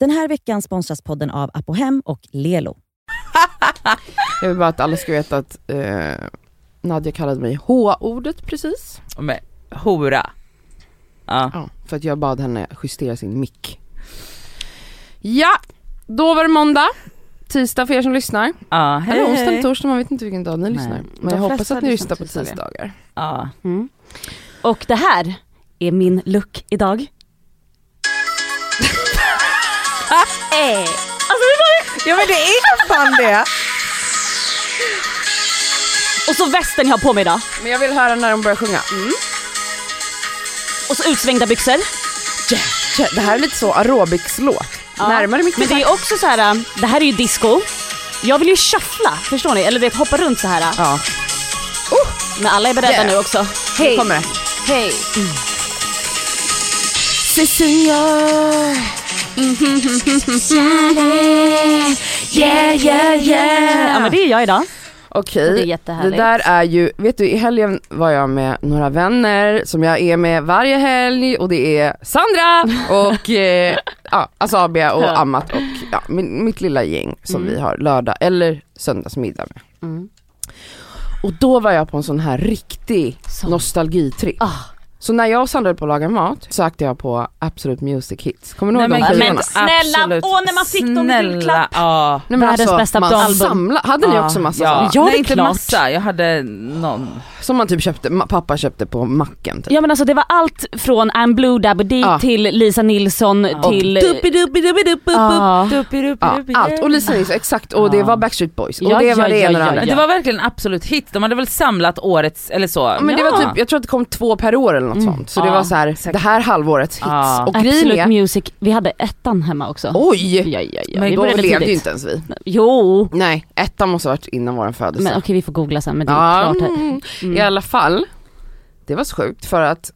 Den här veckan sponsras podden av Apohem och Lelo. Jag vill bara att alla ska veta att eh, Nadja kallade mig H-ordet precis. Men, hora. Ja. Ja. För att jag bad henne justera sin mick. Ja, då var det måndag. Tisdag för er som lyssnar. ja. Hej, Eller onsdag hej. eller torsdag, man vet inte vilken dag ni lyssnar. Men jag De hoppas flesta att ni lyssnar på lyssnar på tisdagar. tisdagar. Ja. Mm. Och det här är min look idag. eh. Alltså det var det. ja men det är fan det! Och så västen jag har på mig idag. Men jag vill höra när de börjar sjunga. Och så utsvängda byxor. Tja, Det här är lite så aerobicslåt. Ja. Närmare Men mycket. det är också så här. äh, det här är ju disco. Jag vill ju shuffla, förstår ni? Eller du vet hoppa runt så här. äh. Ja, Uh! Men alla är beredda Yeah. nu också. nu Hej, kommer det. hej. Cecilia. Yeah, yeah, yeah. Ja men det är jag idag. Okej, Det är det jättehärligt. där är ju, vet du i helgen var jag med några vänner som jag är med varje helg och det är Sandra och eh, ja, Asabia och Amat och ja, min, mitt lilla gäng som Mm. vi har lördag eller söndagsmiddag med. Och då var jag på en sån här riktig Sån. nostalgitripp. Ah. Så när jag och Sandra höll på att laga mat sökte jag på Absolut Music Hits. Kommer ni ihåg de men gud. skivorna? Men snälla, åh, när man fick dem i julklapp. Ja. Nej, men Världens bästa Alltså, man album. samla, hade ni Ja, också massa ja. såna? Ja, det Nej är inte klart. massa, jag hade någon. Som man typ köpte, ma- pappa köpte på macken typ. Ja men alltså det var allt från I'm Blue Dabba Dee Ja. till Lisa Nilsson till... Ja. Ja, allt. Och Lisa Nilsson, exakt. Och det var Backstreet Boys. Och Ja, det var ja, det ena ja, och det ja, andra. Men ja. det var verkligen absolut hit, de hade väl samlat årets eller så. Ja, Men det var typ, jag tror att det kom två per år eller något Mm. sånt. Så det Ja, var så här, det här halvårets hits. Ja. Och grejen Absolut är, Music, vi hade ettan hemma också. oj! Ja, ja, ja. Men vi Då började levde ju tidigt. inte ens vi. Jo, Nej, ettan måste ha varit innan vår födelse. men okej vi får googla sen men det är ja, klart. här- mm. I alla fall, det var så sjukt för att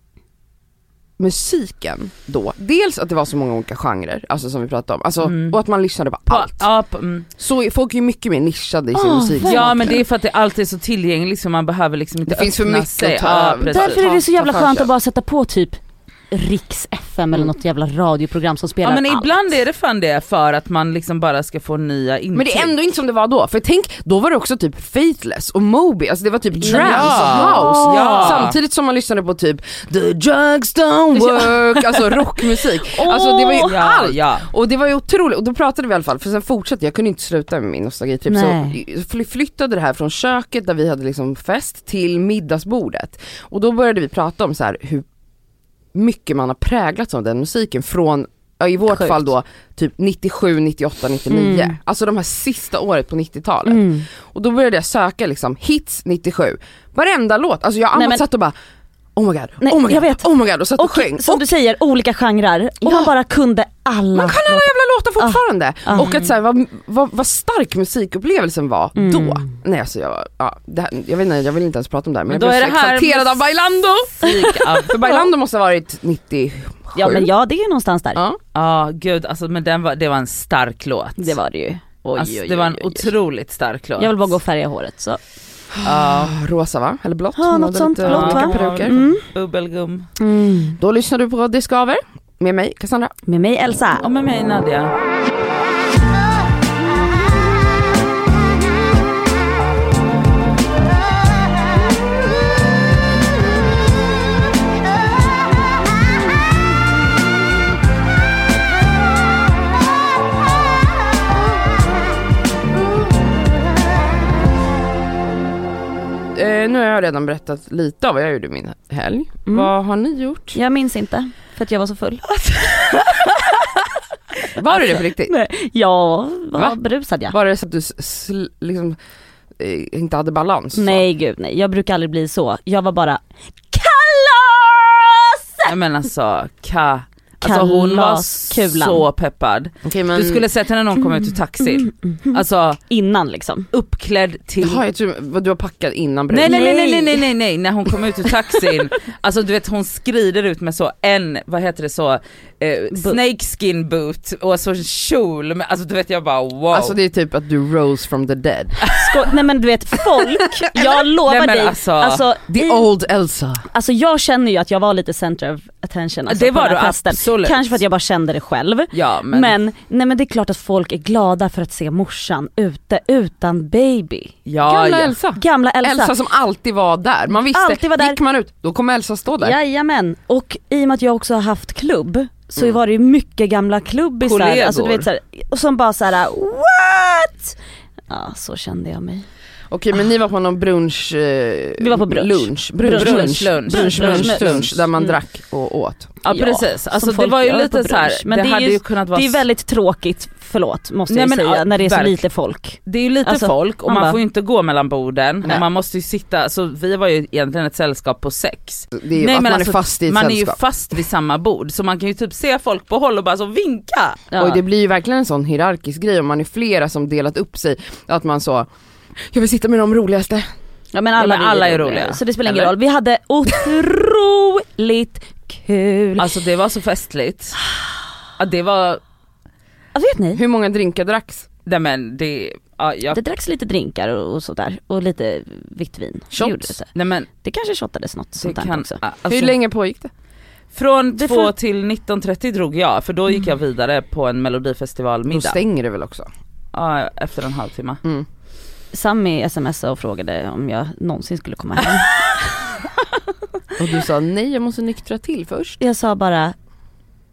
musiken då, dels att det var så många olika genrer, alltså som vi pratade om, alltså, Mm. och att man lyssnade på allt. Ja, på- mm. Så folk är ju mycket mer nischade i sin Ah, musik. ja men det är för att det alltid är så tillgängligt så man behöver liksom inte Det finns för öppna mycket sig. att ta ja, över. precis. Därför är det så Ta- jävla ta Mm. skönt förköp. att bara sätta på typ Riks FM eller något jävla radioprogram som spelar Ja men allt. ibland är det fan det för att man liksom bara ska få nya intryck. Men det är ändå inte som det var då, för tänk, då var det också typ Faithless och Moby, alltså det var typ Ja. trance och house. Ja. Samtidigt som man lyssnade på typ the drugs don't work, alltså rockmusik. Alltså det var ju ja, allt. Ja. Och det var ju otroligt, och då pratade vi i alla fall, för sen fortsatte jag, kunde inte sluta med min nostalgitripp så Nej. fly- flyttade det här från köket där vi hade liksom fest till middagsbordet. Och då började vi prata om så här hur mycket man har präglats av den musiken från Ja, I vårt Sjukt. fall då typ 97, 98, 99. Alltså de här sista året på 90-talet. Mm. Och då började jag söka liksom hits 97. Varenda låt, alltså jag Nej, Amat men- satt och bara oh my god, Nej, oh my god, jag vet. oh my god och satt och, Och sjöng. som Och du säger, olika genrer. Och man bara kunde alla. man kan alla jävla låtar fortfarande. Ah. Och att så här, vad, vad, vad stark musikupplevelsen var då. Nej alltså jag, ja, det här, jag vet inte, jag vill inte ens prata om det här men, Men då jag är blev det så här exalterad av Bailando. Musik, ja. För Bailando måste ha varit 97. Ja men ja det är ju någonstans där. Ja. Ja gud alltså men den var, det var en stark låt. Det var det ju. Oj, alltså, oj, det var en oj, oj, oj. otroligt stark låt. Jag vill bara gå och färga håret så. Ja. Rosa va? Eller blått? Ja, Hon något hade sånt. lite Blått, olika va? peruker. Mm. Bubbelgum. Då lyssnar du på Discover med mig Cassandra. Med mig Elsa. Mm. Och med mig Nadja. Eh, nu har jag redan berättat lite av vad jag gjorde min helg. Vad har ni gjort? Jag minns inte för att jag var så full. Var det det på riktigt? Jag var Va? berusad ja. Var det så att du s- sl- liksom, eh, inte hade balans? så? Nej gud nej, jag brukar aldrig bli så. Jag var bara kalas! Nej men alltså ka. Alltså Kalaskulan. Mm, hon var så peppad. Okej, men... Du skulle sett henne när hon kom ut ur taxin. Alltså Innan liksom. uppklädd till Jaha, jag tror vad du har packat innan bröllop. Nej nej nej Nej. nej nej nej nej när hon kom ut ur taxin, alltså du vet hon skrider ut med så en, vad heter det så, eh, snakeskin boot och så en kjol, med, alltså du vet jag bara wow. Alltså det är typ att du rose from the dead. Sko- nej men du vet folk, jag lovar Nej, men dig. alltså, alltså, The i, old Elsa. alltså jag känner ju att jag var lite center of attention alltså, Det på var den här du festen. Absolut. Kanske för att jag bara kände det själv. Ja men, Men, nej men det är klart att folk är glada för att se morsan ute utan baby. ja, Gamla ja. Elsa. Gamla Elsa. Elsa som alltid var där. Man visste, Alltid var där. gick man ut, då kommer Elsa stå där. Jajamän, och i och med att jag också har haft klubb så var det ju mycket gamla klubbisar Mm. Kollegor. alltså, du vet, så här, och som bara såhär what? Ja så kände jag mig. Okej men ni var på någon brunch... Eh, Vi var på brunch. Lunch. Brunch, Brunch, brunch, lunch. brunch, brunch, Brunch, brunch, lunch. där man drack och åt. ja Ja, precis, som alltså det folk var ju gör på lite brunch. så här, Men det, det är hade ju- ju kunnat vara Det är väldigt tråkigt, förlåt måste Nej, jag men, säga, ja, när det är så verk- lite folk. Det är ju lite Alltså, folk och man man, bara- får ju inte gå mellan borden. Nej. Man måste ju sitta, så vi var ju egentligen ett sällskap på sex. Det är ju att man är fast i ett alltså, man är ju sällskap. fast vid samma bord så man kan ju typ se folk på håll och bara så vinka. Ja. Och det blir ju verkligen en sån hierarkisk grej om man är flera som delat upp sig. Att man så, jag vill sitta med de roligaste. Ja men alla, alla Ja, men alla är roliga. Så det spelar ingen Eller? roll. Vi hade otroligt kul. Alltså det var så festligt. Ja, det var, Ja, Alltså, vet ni? Hur många drinkar dracks? nej men det, ja, jag, Det dracks lite drinkar och, och sådär och lite vitt vin. Det, gjorde det, shots. så. Nej men det kanske shottades något det sånt där kan, också. alltså, Hur länge pågick det? Från Det två får- Mm. till 19.30 drog jag för då gick jag vidare på en Då melodifestivalmiddag. stänger det väl också? Ja, efter en halvtimme. Sammy smsade och frågade om jag någonsin skulle komma hem. Och du sa nej jag måste nyktra till först. Jag sa bara,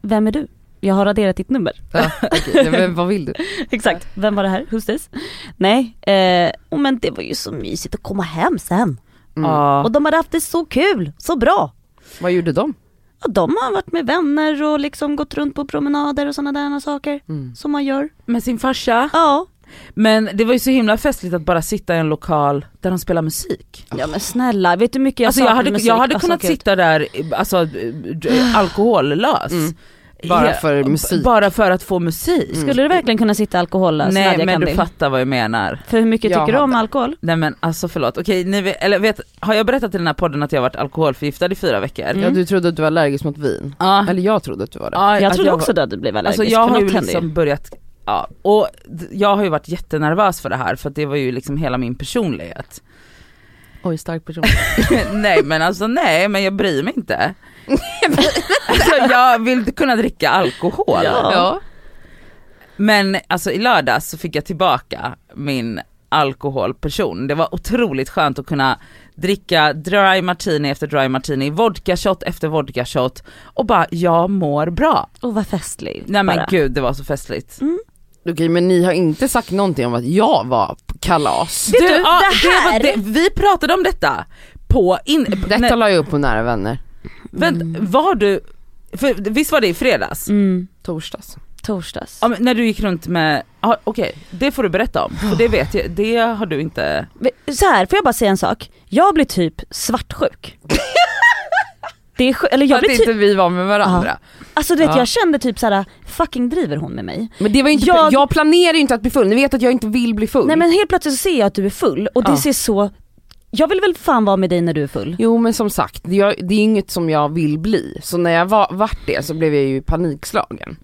vem är du? Jag har raderat ditt nummer. Ja, Ah, okej. Men vad vill du? Exakt, vem var det här? Who's this? Nej, eh, oh, men det var ju så mysigt att komma hem sen. Ja. Och de hade haft det så kul, så bra. Mm. Vad gjorde de? Och de har varit med vänner och liksom gått runt på promenader och sådana där saker. Som man gör. Med sin farsa. Ja. Men det var ju så himla festligt att bara sitta i en lokal där de spelar musik. Ja men snälla, vet du hur mycket jag alltså jag saknar hade, musik? jag hade Alltså, kunnat gud. sitta där eh, alltså, eh, d- alkohollös. Bara He- för musik. Bara för att få musik. Skulle du verkligen kunna sitta alltså, alkohollös Nej Nadia men du Kandil? fattar vad jag menar. För hur mycket Jag tycker du om hade. alkohol? Nej men alltså förlåt, okej ni vet, eller vet, har jag berättat i den här podden att jag har varit alkoholförgiftad i fyra veckor? Ja du trodde att du var allergisk mot vin. Ja. Eller jag trodde att du var det. Ja, Jag att trodde alltså, jag- också att du blev allergisk, Alltså jag för har ju något händer liksom börjat, ja, och d- jag har ju varit jättenervös för det här för att det var ju liksom hela min personlighet. Oj stark person. nej men alltså nej men jag bryr mig inte. alltså jag vill kunna dricka alkohol. Ja. ja. Men alltså i lördags så fick jag tillbaka min alkoholperson. Det var otroligt skönt att kunna dricka dry martini efter dry martini, vodka shot efter vodka shot och bara jag mår bra. Och vad festlig. Nej men bara. Mm. gud det var så festligt. Okej men ni har inte sagt någonting om att jag var på kalas. Vet du, det här- var vi pratade om detta på in... Detta Mm. nej, la jag upp på nära vänner. vänt, var du, för, visst var det i fredags? Mm, Torsdags. torsdags. Ja, men när du gick runt med, ja, okej det får du berätta om, för det vet jag, det har du inte. Så här, får jag bara säga en sak? Jag blir typ svartsjuk. det är sj- eller jag att blir typ, inte vi var med varandra. alltså du vet Ja. jag kände typ såhär, fucking driver hon med mig? Men det var ju inte, jag... Jag- planerar ju inte att bli full, ni vet att jag inte vill bli full. Nej men helt plötsligt så ser jag att du är full och det Ja. ser så, jag vill väl fan vara med dig när du är full. Jo men som sagt, det, jag, det är inget som jag vill bli. Så när jag var, vart det så blev jag ju panikslagen.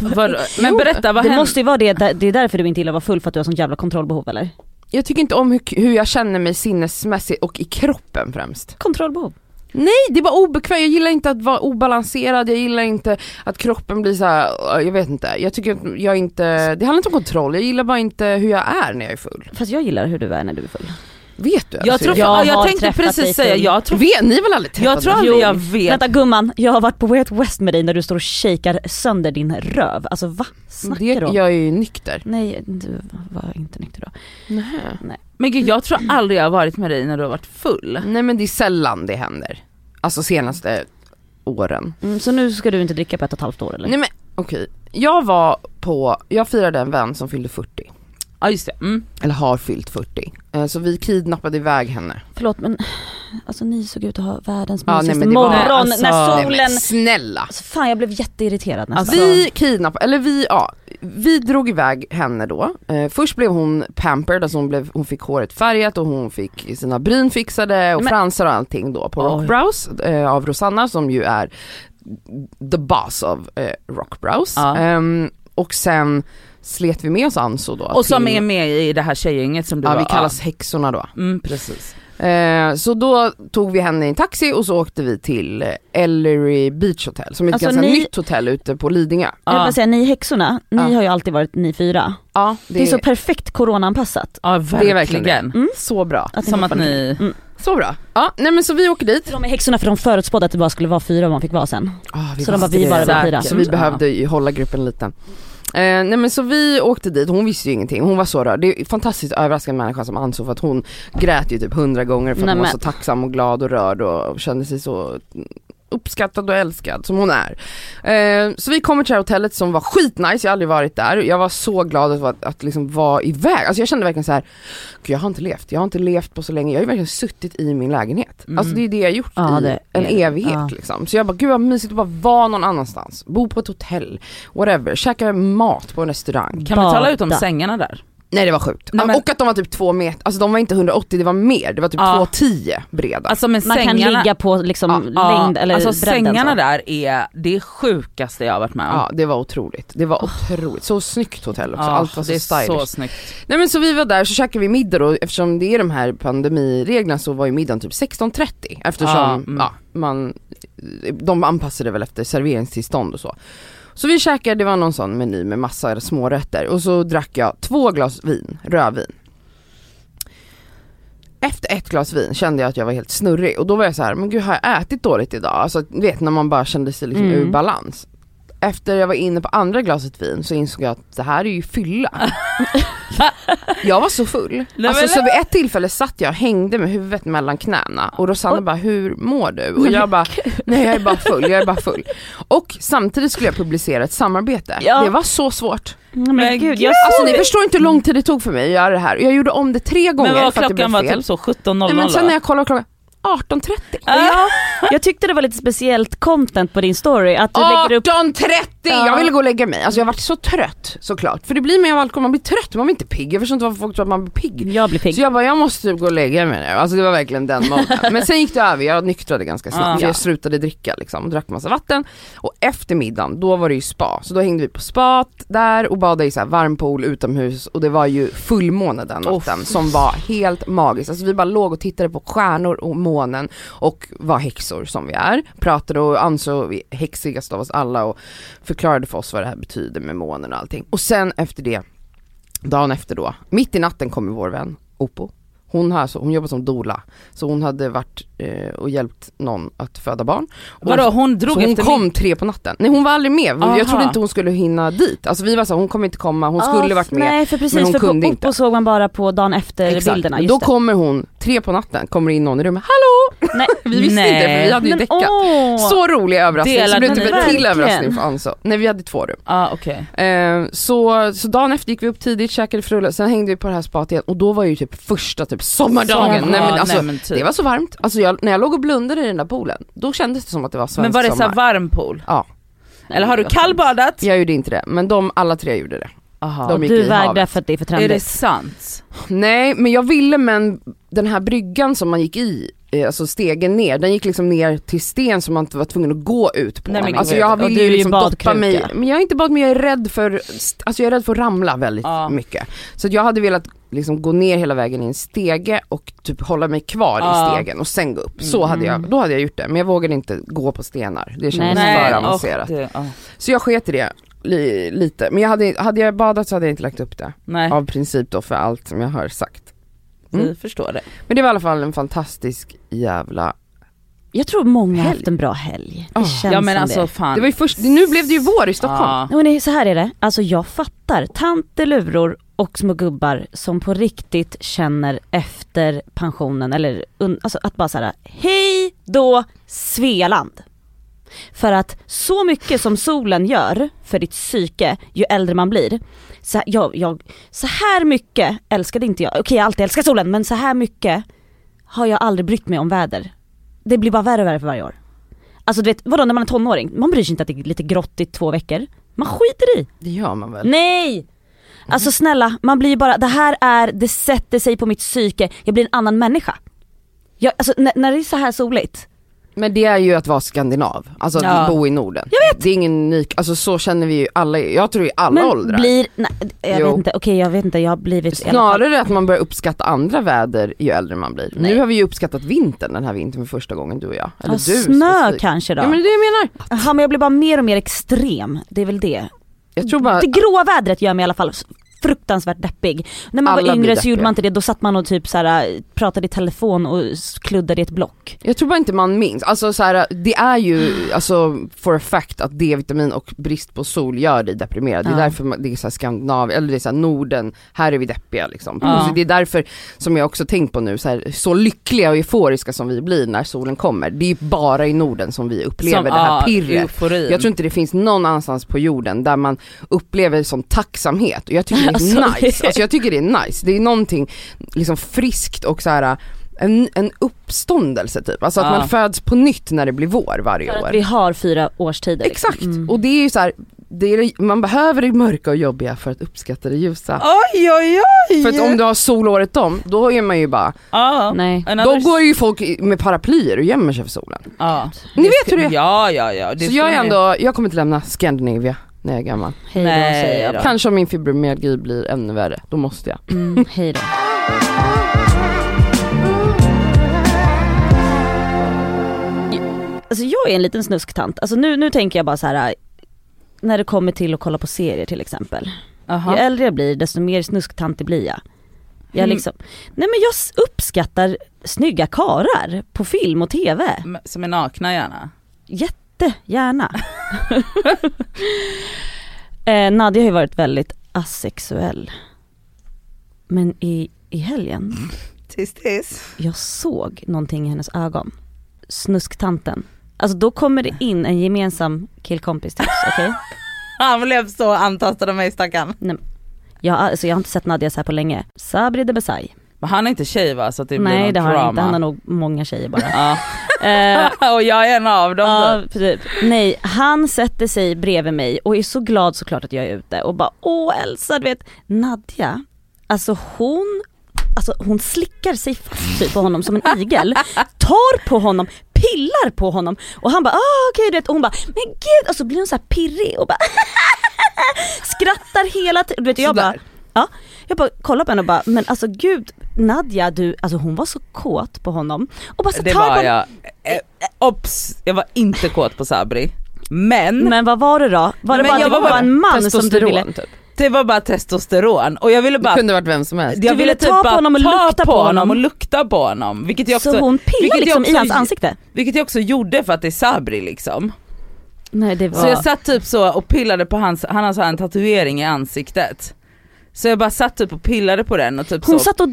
Var, men berätta vad Det hände? måste ju vara det, det är därför du inte gillar att vara full för att du har sånt jävla kontrollbehov eller? Jag tycker inte om hur, hur jag känner mig sinnesmässigt och i kroppen främst. Kontrollbehov. Nej det var obekvämt, jag gillar inte att vara obalanserad, jag gillar inte att kroppen blir så här. jag vet inte. Jag tycker att jag inte, det handlar inte om kontroll, jag gillar bara inte hur jag är när jag är full. Fast jag gillar hur du är när du är full. Vet du ens Jag, hur tror, Jag jag, jag har tänkte träffat dig precis säga, full. jag tror, Vet, ni har väl aldrig jag träffat tror mig? aldrig jag vet. Vänta gumman, jag har varit på Way Out West med dig när du står och shakar sönder din röv. Alltså va? Snackar du det, om? jag är ju nykter. Nej, du var inte nykter då. Nej. Men gud jag tror aldrig jag har varit med dig när du har varit full. Mm. Nej men det är sällan det händer. Alltså senaste åren. Mm, så nu ska du inte dricka på ett och ett halvt år eller? Nej men okej, jag var på, jag firade en vän som fyllde 40. Ja just det, mm. Eller har fyllt 40. Eh, Så vi kidnappade iväg henne. Förlåt men, alltså ni såg ut att ha världens Ja, nej, mysigaste men det var- morgon Alltså, när Nej, solen... men snälla! alltså, fan jag blev jätteirriterad nästan. Alltså- Vi kidnappade, eller vi, ja, vi drog iväg henne då. Eh, först blev hon pampered, alltså hon, blev, hon fick håret färgat och hon fick sina bryn fixade och Men- fransar och allting då på Oj. Rockbrows eh, av Rosanna som ju är the boss av eh, Rockbrows. Ja. Ehm, och sen slet vi med oss Anso då. Och som till- är med i det här tjejgänget som du Ja var vi kallas häxorna då. Mm precis. Eh, så då tog vi henne i en taxi och så åkte vi till Ellery Beach Hotel som är ett Alltså, ganska ni- nytt hotell ute på Lidingö. Jag vill Ja. bara säga, ni häxorna, ni Ja. har ju alltid varit ni fyra. Ja, Det, är så perfekt coronaanpassat. Ja det är verkligen. verkligen det. Så bra. Mm. Att Som att fortfarande- ni, Så bra. Ja, nej men så vi åker dit. De är häxorna för de förutspådde att det bara skulle vara fyra om man fick vara sen. Ah, Så de visste bara, vi det. bara var fyra. Så vi Ja. behövde ju hålla gruppen liten. Eh, nej men så vi åkte dit, hon visste ju ingenting, hon var så rörd. Det är en fantastiskt överraskande människa som ansåg för att hon grät ju typ hundra gånger för att Nej, hon var men. så tacksam och glad och rörd och kände sig så uppskattad och älskad som hon är. Eh, så vi kommer till det här hotellet som var skitnice, jag har aldrig varit där. Jag var så glad att, vara- att liksom vara iväg. Alltså jag kände verkligen så här, Gud, jag har inte levt, jag har inte levt på så länge, jag har ju verkligen suttit i min lägenhet. Alltså det är det jag har gjort Mm. Ja, i det en är- evighet ja. liksom. Så jag bara, gud vad mysigt att bara vara någon annanstans, bo på ett hotell, whatever, käka mat på en restaurang. kan vi tala ut om Bada. sängarna där? Nej det var sjukt. Nej, men- Och att de var typ två meter, alltså de var inte 180, det var mer, det var typ Ja. 210 breda. Alltså men Man sängarna, kan ligga på liksom Ja, längd eller alltså bredden. sängarna så. där är det sjukaste jag har varit med om. ja det var otroligt, det var otroligt. Så snyggt hotell också, Ja, Alltså, allt var det är så stylish. så snyggt. Nej men så vi var där, så käkade vi middag då, eftersom det är de här pandemireglerna så var ju middagen typ 16.30 eftersom Ja, mm. ja, man, de anpassade väl efter serveringstillstånd och så. Så vi käkade, det var någon sån meny med massa smårätter och så drack jag två glas vin, rödvin. Efter ett glas vin kände jag att jag var helt snurrig och då var jag så här, men gud har jag ätit dåligt idag? Alltså du vet när man bara kände sig liksom Mm. ur balans. Efter jag var inne på andra glaset vin så insåg jag att det här är ju fylla. Jag var så full. Nej, alltså, men- så vid ett tillfälle satt jag och hängde med huvudet mellan knäna och Rosanna bara “hur mår du?” och jag bara “nej jag är bara full, jag är bara full”. Och samtidigt skulle jag publicera ett samarbete. Ja. Det var så svårt. Mm, Men, Men men gud, jag Alltså ni förstår inte hur lång tid det tog för mig att göra det här. Jag gjorde om det tre gånger Men vad för att det blev klockan var fel. typ så 17.00 Nej, men sen va? när jag kollade klockan, 18.30. Ja, jag tyckte det var lite speciellt content på din story, att du Ah. lägger upp 18.30! Ja. Jag ville gå och lägga mig. Alltså jag varit så trött såklart. För det blir mer av alkohol, man blir trött, man blir inte pigg. Jag förstår inte varför folk tror att man blir pigg. jag blir pigg. Så jag bara, jag måste typ gå och lägga mig nu. Alltså det var verkligen den moden. Men sen gick det över, jag nyktrade ganska snabbt. Ja. för Jag slutade dricka liksom, och drack massa vatten. Och efter middagen, då var det ju spa. Så då hängde vi på spat där och badade i så här varm pool utomhus. Och det var ju fullmåne den natten som var helt magisk. Alltså vi bara låg och tittade på stjärnor och månen och var häxor som vi är. Pratade och ansåg vi häxigast av oss alla och förklarade för oss vad det här betyder med månen och allting. Och sen efter det dagen efter då, mitt i natten kommer vår vän Opo. Hon, har, så, hon jobbar som doula, så hon hade varit eh, och hjälpt någon att föda barn. Och Vadå hon drog så hon efter kom min... tre på natten. Nej hon var aldrig med, hon, Aha. jag trodde inte hon skulle hinna dit. Alltså vi var så här, hon kommer inte komma, hon skulle Ah, varit med. Nej för precis, men hon för kunde på inte. Oppo såg man bara på dagen efter bilderna. Just Då det. kommer hon, tre på natten, kommer in någon i rummet, hallå! Nej. Vi visste inte det för vi hade ju Men däckat. åh! Så rolig överraskning, så Delade blev det ni? typ en till Verkligen. överraskning för Anso. Nej vi hade två rum. Ja okej. Eh, så, så dagen efter gick vi upp tidigt, käkade frulle, sen hängde vi på det här spat igen och då var ju typ första typ sommardagen. Sommar. Nej, men, Ja, alltså, nej, men typ. Det var så varmt, alltså, jag, när jag låg och blundade i den där poolen, då kändes det som att det var svensk Men var det så sommar. här varm pool? Ja. Eller har du kallbadat? Jag gjorde inte det, men de alla tre gjorde det. Aha. De gick Du i vägrar havet. för att det är för Är det trendigt. sant? Nej men jag ville men den här bryggan som man gick i, eh, alltså stegen ner, den gick liksom ner till sten som man inte var tvungen att gå ut på. Nej, men alltså gud. jag Och ville du är ju ju liksom doppa badkruka. mig, men jag är inte bad men jag är rädd för, st- alltså jag är rädd för att ramla väldigt Ja. mycket. Så att jag hade velat liksom gå ner hela vägen i en stege och typ hålla mig kvar Ja. i stegen och sen gå upp. Så hade jag, då hade jag gjort det men jag vågade inte gå på stenar, det kändes Nej, för nej. avancerat. åh, det- ja. Så jag sket i det li, lite, men jag hade, hade jag badat så hade jag inte lagt upp det. Nej, Av princip då för allt som jag har sagt. mm. vi förstår det. Men det var i alla fall en fantastisk jävla, Jag tror många har Helg. haft en bra helg. Det Ah. känns Ja men som alltså det. fan. det var ju först, nu blev det ju vår i Stockholm. Ja. Och nej, så här är det, alltså jag fattar tanteluror och små gubbar som på riktigt känner efter pensionen eller un- alltså att bara såhär, hej då Svealand. För att så mycket som solen gör för ditt psyke ju äldre man blir, så här, jag, jag, så här mycket älskade inte jag, okej jag har alltid älskat solen men så här mycket har jag aldrig brytt mig om väder. Det blir bara värre och värre för varje år. Alltså du vet, vadå när man är tonåring, man bryr sig inte att det är lite grått i två veckor. Man skiter i. Det gör man väl? Nej! Mhm. Alltså snälla, man blir ju bara, det här är, det sätter sig på mitt psyke, jag blir en annan människa. Jag, alltså när, när det är så här soligt, Men det är ju att vara skandinav, alltså att Ja. bo i Norden. Jag vet. Det är ingen unik, alltså så känner vi ju alla, jag tror i alla Men åldrar. blir, nej, jag Jo. vet inte, okej jag vet inte, jag har blivit i alla fall- Snarare att man börjar uppskatta andra väder ju äldre man blir. Nej. Nu har vi ju uppskattat vintern den här vintern för första gången du och jag. Eller Ja, du snö specifikt. kanske då. Ja men det är det jag menar. Jaha, men jag blir bara mer och mer extrem, det är väl det. Jag tror bara, Det gråa vädret gör mig i alla fall fruktansvärt deppig. När man Alla var blir yngre så deppiga. gjorde man inte det, då satt man och typ så här, pratade i telefon och s- kluddade i ett block. jag tror bara inte man minns. Alltså så här, det är ju alltså for a fact att D-vitamin och brist på sol gör dig deprimerad. Det Ja. är därför man, det är så här Skandinavien, eller det är så här Norden, här är vi deppiga liksom. Ja. Så det är därför som jag också tänkt på nu, så, här, så lyckliga och euforiska som vi blir när solen kommer. Det är ju bara i Norden som vi upplever det här ja, pirret. euforin. Jag tror inte det finns någon annanstans på jorden där man upplever sån tacksamhet och jag tycker det är Alltså, nice. Alltså jag tycker det är nice. Det är någonting liksom friskt och så här en, en uppståndelse typ. Alltså att Ja. man föds på nytt när det blir vår varje För att år. vi har fyra årstider. liksom. Exakt! Mm. Och det är ju så här, det är, det- man behöver det mörka och jobbiga för att uppskatta det ljusa. Oj oj oj! För att om du har sol året om, då är man ju bara, Ja. Nej. då Another- går ju folk i- med paraplyer och gömmer sig för solen. ja. Ni vet hur det är. Ja ja ja. Det Så jag är skulle- ändå, jag kommer inte lämna Scandinavia när jag är gammal. Hej då Nej säger jag. då. Kanske om min fibromyalgi blir ännu värre, då måste jag. Mm, hej då. Alltså jag är en liten snusktant, alltså nu, nu tänker jag bara så här äh, när det kommer till att kolla på serier till exempel. Aha. Ju äldre jag blir desto mer snusktantig blir jag. Jag, Mm. liksom, nej men jag s- uppskattar snygga karar på film och tv. M- Som är nakna gärna. Jättegärna. eh, Nadja har ju varit väldigt asexuell. Men i, i helgen, Tis tis. jag såg någonting i hennes ögon. Snusktanten. Alltså då kommer det in en gemensam killkompis till oss, okej? Han blev så antastad av mig stackarn. Jag, har- alltså, jag har inte sett Nadja så här på länge. Sabri Debesay. Men han är inte tjej va? Så att det blir Nej något det har drama. han inte, han har nog många tjejer bara. Ja. eh, och jag är en av dem. Ja, då. typ. Nej, han sätter sig bredvid mig och är så glad såklart att jag är ute och bara åh Elsa du vet Nadja, alltså hon, alltså hon slickar sig fast typ på honom som en igel, tar på honom, pillar på honom och han bara ah okej du vet och hon bara men gud och så blir hon så här pirrig och bara skrattar hela tiden. Du vet jag bara Sådär. Ja, jag bara kollar på henne och bara, men alltså gud Nadja du, alltså hon var så kåt på honom. Och bara så Det tar på var jag. Eh, Obs! Jag var inte kåt på Sabri. Men Men vad var det då? Var det Men bara, jag det var var bara en man som du Testosteron ville... typ. det var bara testosteron och jag ville Det bara kunde varit vem som helst. jag typ Du ville ta på bara honom och ta lukta på på honom. och lukta på honom. Vilket jag också, Så hon vilket pillade jag liksom i också- hans ansikte? vilket jag också gjorde för att det är Sabri liksom. Nej det var... Så jag satt typ så och pillade på hans, han har så här en tatuering i ansiktet. Så jag bara satt typ och pillade på den och typ hon så. satt och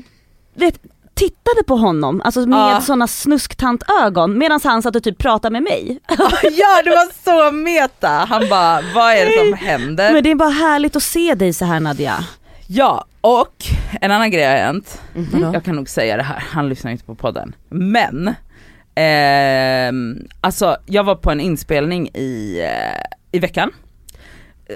vet, tittade på honom, alltså med Ja. sådana snusktantögon medan han satt och typ pratade med mig. ja det var så meta! Han bara vad är det som händer? Men det är bara härligt att se dig så här Nadja. Ja, och en annan grej har hänt. Mm. Jag kan nog säga det här, han lyssnar ju inte på podden. Men, ehm, alltså jag var på en inspelning i, eh, i veckan.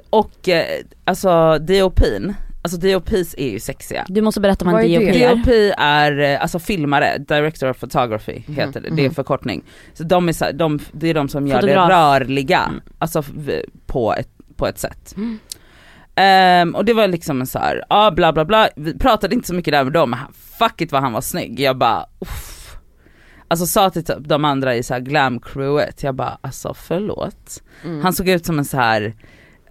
Och eh, alltså DOP'n, alltså DOP's är ju sexiga. Du måste berätta om Vad en är DOP det? är. DOP är eh, alltså filmare, director of photography heter det, det är en förkortning. Så de är, så här- de, det är de som gör Fotograf. det rörliga, alltså f- på ett, på ett sätt. Ehm, och det var liksom en så här, ah, bla bla bla, vi pratade inte så mycket där med dem, men han- fuck it vad han var snygg. Jag bara uff. Alltså sa till typ de andra i så här glam crewet, jag bara alltså förlåt. Han såg ut som en så här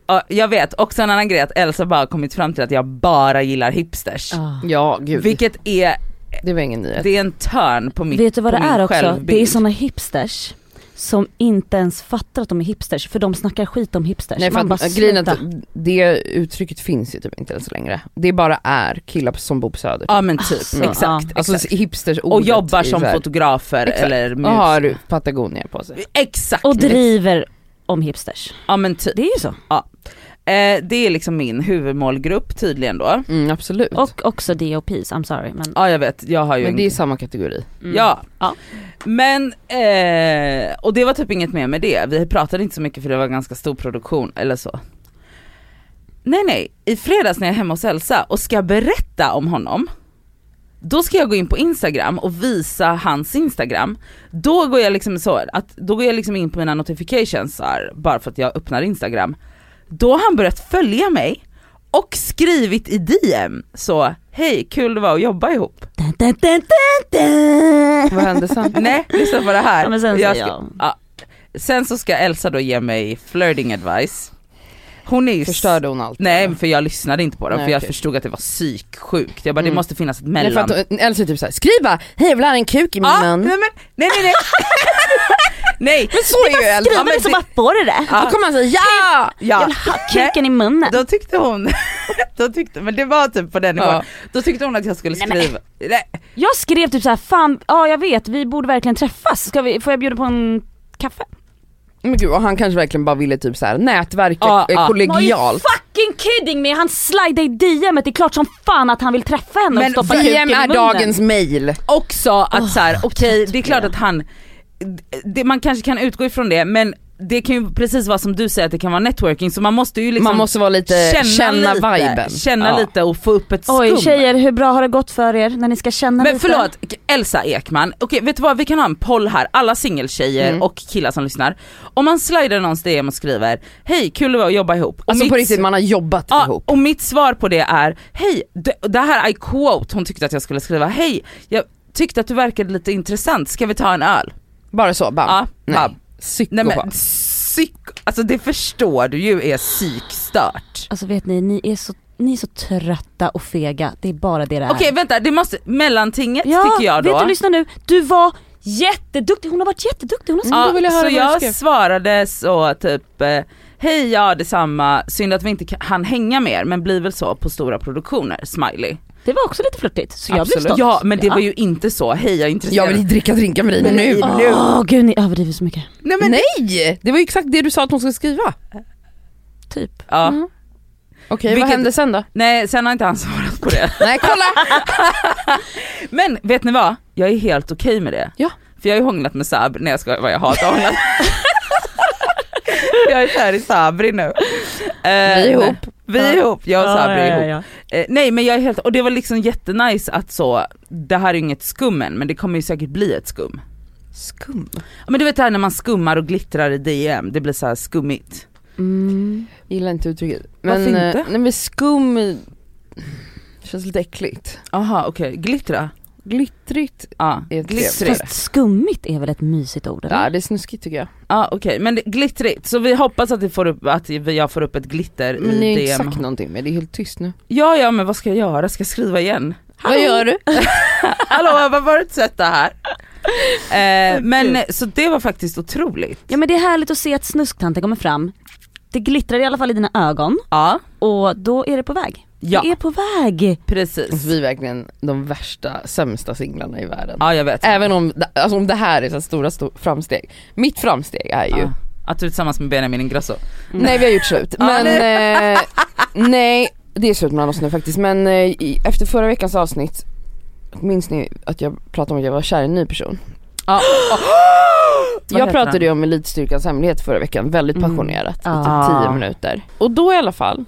ja, jag vet, också en annan grej att Elsa bara har kommit fram till att jag bara gillar hipsters. Ah. Ja gud, Vilket är, det var ingen nyhet. det är en törn på mitt Vet du vad det på min är också? självbild. Det är sådana hipsters som inte ens fattar att de är hipsters för de snackar skit om hipsters. Nej för Man bara, att grejen är att "Sluta." det uttrycket finns ju typ inte ens längre. Det bara är killar som bor på söder. Ja men typ, Alltså, exakt. ja. exakt. Alltså hipsters och jobbar som fotografer fotografer Exakt. eller Och mus. har Patagonia på sig. Exakt! Och driver om hipsters. ja men typ. Det är ju så. Eh, det är liksom min huvudmålgrupp tydligen då. Mm, absolut. Och också DOPs, I'm sorry men... Ja jag vet, jag har ju Men en... det är samma kategori. Mm. Ja. Ja. Men, eh, och det var typ inget mer med det. Vi pratade inte så mycket för det var ganska stor produktion eller så. Nej nej, i fredags när jag är hemma hos Elsa och ska berätta om honom Då ska jag gå in på Instagram och visa hans Instagram. Då går jag liksom så att, då går jag liksom in på mina notifications så här, bara för att jag öppnar Instagram. Då har han börjat följa mig och skrivit i DM så, hej kul det var att jobba ihop. Dun, dun, dun, dun, dun. Vad hände sen? Nej, lyssna på det här. Ja, men sen jag säger ska, jag. ja. sen så ska Elsa då ge mig flirting advice. Hon är ju Förstörde hon allt? Nej men för jag lyssnade inte på dem Nej, för jag okej. förstod att det var psyksjukt. Jag bara Mm. det måste finnas ett Nej, mellan. för att, hon- Elsa är typ såhär, skriv bara, hej jag vill ha en kuk i min ah, nej mun. men nej nej nej. nej. Men så är ju Elsa. Ja, Skriver men du så det- bara får du det? Då kommer han säga ja! Jag Ja. vill ha kuken i munnen. Då tyckte hon, då tyckte, men det var typ på den nivån. Ja. Då tyckte hon att jag skulle Nej, men- skriva. Nej, Jag skrev typ så här, fan, ja jag vet vi borde verkligen träffas, Ska vi, får jag bjuda på en kaffe? Men gud, och han kanske verkligen bara ville typ såhär nätverka Ja, eh, ja. Are you kollegialt. fucking kidding me? Han slidade i DM, et. det är klart som fan att han vill träffa henne Men och stoppa kuken i VM är munnen. dagens mail. Också att så här, okej det är klart det. att han, det, man kanske kan utgå ifrån det men det kan ju precis vara som du säger att det kan vara networking så man måste ju liksom Man måste vara lite, känna, lite, viben. Känna Ja. lite och få upp ett skum. Oj tjejer, hur bra har det gått för er när ni ska känna Men lite? förlåt, Elsa Ekman, okej vet du vad vi kan ha en poll här, alla singeltjejer Mm. och killar som lyssnar. Om man slidar någons DM och skriver hej kul det var att jobba ihop. Och Alltså på mitt- riktigt, man har jobbat Ja, ihop. och mitt svar på det är, hej, det, det här I quote hon tyckte att jag skulle skriva, hej jag tyckte att du verkade lite intressant, ska vi ta en öl? Bara så, bam. Ja, Nej. bam. Nej Psykopat. men psyk, alltså det förstår du ju är psykstört. Alltså vet ni, ni är så, ni är så trötta och fega, det är bara det det är. Okej vänta, det måste, mellantinget ja, tycker jag då. Vet du, lyssna nu, du var jätteduktig, hon har varit jätteduktig, hon har Ja, då vill jag höra så vad du jag skrev. svarade så typ eh, Hej ja detsamma, synd att vi inte kan hänga mer men blir väl så på stora produktioner, smiley. Det var också lite flörtigt, så jag Absolut. blev stolt. Ja men det var ju inte så, hej jag är Jag intresserad. vill dricka drinkar med dig nu. Ah, Åh gud ni överdriver så mycket. Nej men Nej! Det var ju exakt det du sa att hon skulle skriva. Typ. ja. Mm. Okej, Vilket- vad hände sen då? Nej sen har inte han svarat på det. Nej kolla! Men vet ni vad? Jag är helt okej med det. Ja. För jag har ju hånglat med Sab, nej jag skojar vad jag hatar hånglat. jag är kär i Sabri nu. Eh, är ihop. Vi är ihop, jag och Sabri är ihop. ja. Eh, nej men jag är helt, och det var liksom jättenice att så, det här är ju inget skum än men det kommer ju säkert bli ett skum. Skum. Ja, Men du vet det här när man skummar och glittrar i DM, det blir så här skummigt. Mm. Gillar inte uttrycket. Varför inte? eh, Nej men skum eh, känns lite äckligt. Aha okej, glittra? Glittrigt. Ja, Är det glittrigt. trevligt? Fast skummigt är väl ett mysigt ord eller? Ja det är snuskigt tycker jag. Ja okej, men det, glittrigt. Så vi hoppas att, vi får upp, att vi- jag får upp ett glitter Men ni i har DM. ju inte sagt någonting men det är helt tyst nu. Ja ja men vad ska jag göra? Ska jag skriva igen? Vad gör du? Hallå vad var det sött det här? Eh, men så det var faktiskt otroligt. Ja men det är härligt att se att snusktanten kommer fram. Det glittrar i alla fall i dina ögon Ja, och då är det på väg. ja Det är på väg. precis. Alltså, vi är verkligen de värsta, sämsta singlarna i världen. Ja jag vet. Även om, alltså, om det här är så här stora sto- framsteg. Mitt framsteg är ju, Ja. Att du är tillsammans med Benjamin Ingrosso. nej vi har gjort slut. Men eh, nej, det är slut mellan oss nu faktiskt. Men eh, i, efter förra veckans avsnitt, minns ni att jag pratade om att jag var kär i en ny person? Ja. Vad Jag heter Mm. pratade han? ju om elitstyrkans hemlighet förra veckan, väldigt passionerat, i typ Ah. 10 minuter. Och då i alla fall,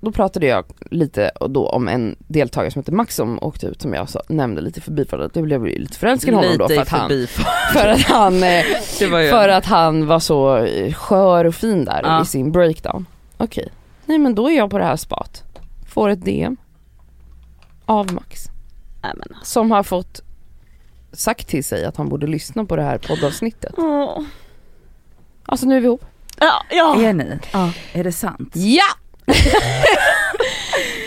då pratade jag lite och då om en deltagare som heter Max som åkte ut som jag sa, nämnde lite i förbifarten, jag blev ju lite förälskad i honom då för Lite i att han, förbifart. för att han eh, Det var ju- För att han var så eh, skör och fin där Ja. i sin breakdown. Okej, nej men då är jag på det här spat. Får ett DM av Max Nej, men. alltså. som har fått sagt till sig att han borde lyssna på det här poddavsnittet. Åh. Alltså nu är vi ihop. Ja, ja. Är ni? Ja. Är det sant? Ja!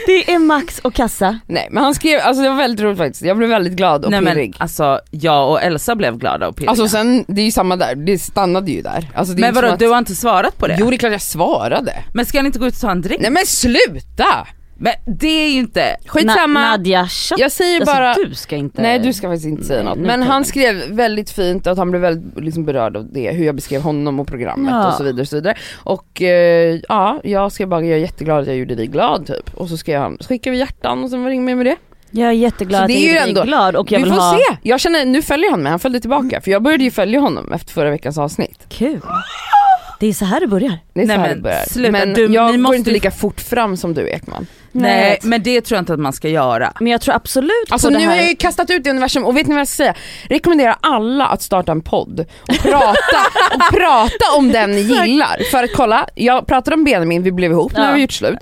Det är Max och Kassa. Nej men han skrev, alltså det var väldigt roligt faktiskt. Jag blev väldigt glad och Nej men pirrig. alltså jag och Elsa blev glada och pirriga. Alltså sen, det är ju samma där, det stannade ju där. Alltså, det är men inte som vadå att- du har inte svarat på det? Jo det är klart jag svarade. Men ska ni inte gå ut och ta en drink? Nej men sluta! Men det är ju inte... Skitsamma. Na- Nadja, shut jag säger alltså, bara du ska inte... Nej du ska faktiskt inte säga Nej, något. nu Men kan han jag. skrev väldigt fint och att han blev väldigt liksom, berörd av det, hur jag beskrev honom och programmet Ja. och så vidare. Och, så vidare. och eh, ja, jag skrev bara jag är jätteglad att jag gjorde dig glad typ. Och så skrev han, så skickade vi hjärtan och sen var det inget mer med det. Jag är jätteglad Så att det är jag ju gjorde dig ändå- glad och jag vi vill får ha... se! Jag känner, nu följer han mig, han följde tillbaka. För jag började ju följa honom efter förra veckans avsnitt. Kul. Det är så här det börjar. Det är Nej, så här men det börjar. sluta, men du- ni jag går måste inte ju- lika fort fram som du Ekman. Jag Nej vet. men det tror jag inte att man ska göra. Men jag tror absolut Alltså på nu det har här. jag ju kastat ut i universum och vet ni vad jag ska säga? Rekommenderar alla att starta en podd och prata, och prata om den ni gillar. För att kolla, jag pratade om Benjamin, vi blev ihop, nu Ja. har vi gjort slut.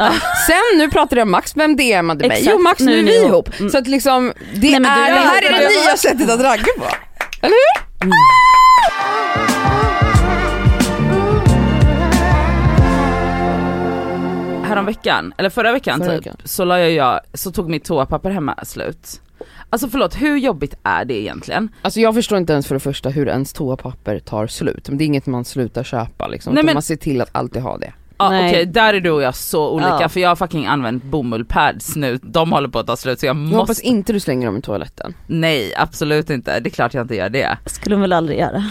Sen nu pratade jag om Max, vem DMade mig? Exakt, Jo Max, nu är vi ihop. Så att liksom, det, Nej, men du- är, Ja, det här det- är det det- nya sättet att ragga på. Eller hur? Häromveckan, eller förra veckan Förra typ, veckan. Så, la jag, jag, så tog mitt toapapper hemma slut. Alltså förlåt, hur jobbigt är det egentligen? Alltså jag förstår inte ens för det första hur ens toapapper tar slut. Men det är inget man slutar köpa liksom, Nej, utan men- man ser till att alltid ha det. Ja Nej. okej, där är du och jag så olika Ja. för jag har fucking använt bomullpads nu, de håller på att ta slut så jag Jag hoppas måste, inte du slänger dem i toaletten. nej absolut inte, det är klart jag inte gör det. skulle hon väl aldrig göra.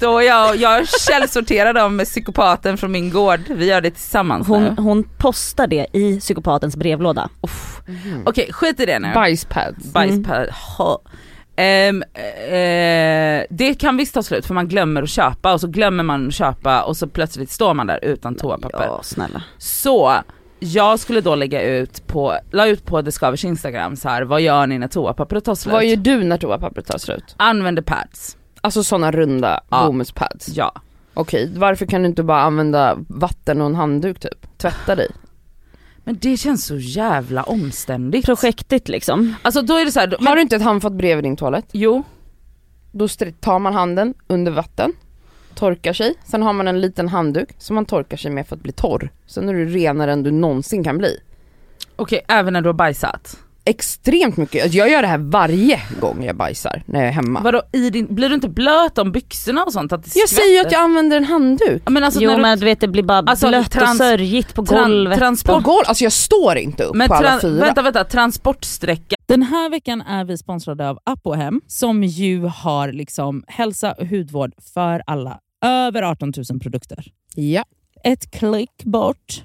Då jag, jag källsorterar dem med psykopaten från min gård, vi gör det tillsammans nu. Hon, hon postar det i psykopatens brevlåda. Uff. Okej skit i det nu. Bajspads. Bajspad. Ha. Ehm, eh, det kan visst ta slut för man glömmer att köpa och så glömmer man att köpa och så plötsligt står man där utan toapapper. Ja snälla. Så jag skulle då lägga ut på, la ut på Discovers instagram så här, vad gör ni när toapappret tar slut? Vad gör du när toapappret tar slut? Använder pads. Alltså sådana runda Ja. bomullspads. Ja. Okej, varför kan du inte bara använda vatten och en handduk typ? Tvätta dig. Men det känns så jävla omständigt. Projektigt liksom. Alltså då är det så här, då, Har du inte ett handfat bredvid din toalett? jo Då str- tar man handen under vatten, torkar sig, sen har man en liten handduk som man torkar sig med för att bli torr. Sen är du renare än du någonsin kan bli. okej även när du har bajsat. Extremt mycket, Alltså, jag gör det här varje gång jag bajsar när jag är hemma. Vadå i din, blir du inte blöt om byxorna och sånt? Att det Jag säger ju att skvätter? jag använder en handduk. Ja, Men alltså jo när du, men du vet det blir bara Alltså, blött och trans- sörjigt på tran- golvet. transport På golv, alltså jag står inte upp Men på alla tran- fyra. vänta, vänta, transportsträcka. Den här veckan är vi sponsrade av Apohem som ju har liksom hälsa och hudvård för alla. Över 18 000 produkter Ja. ett klick bort.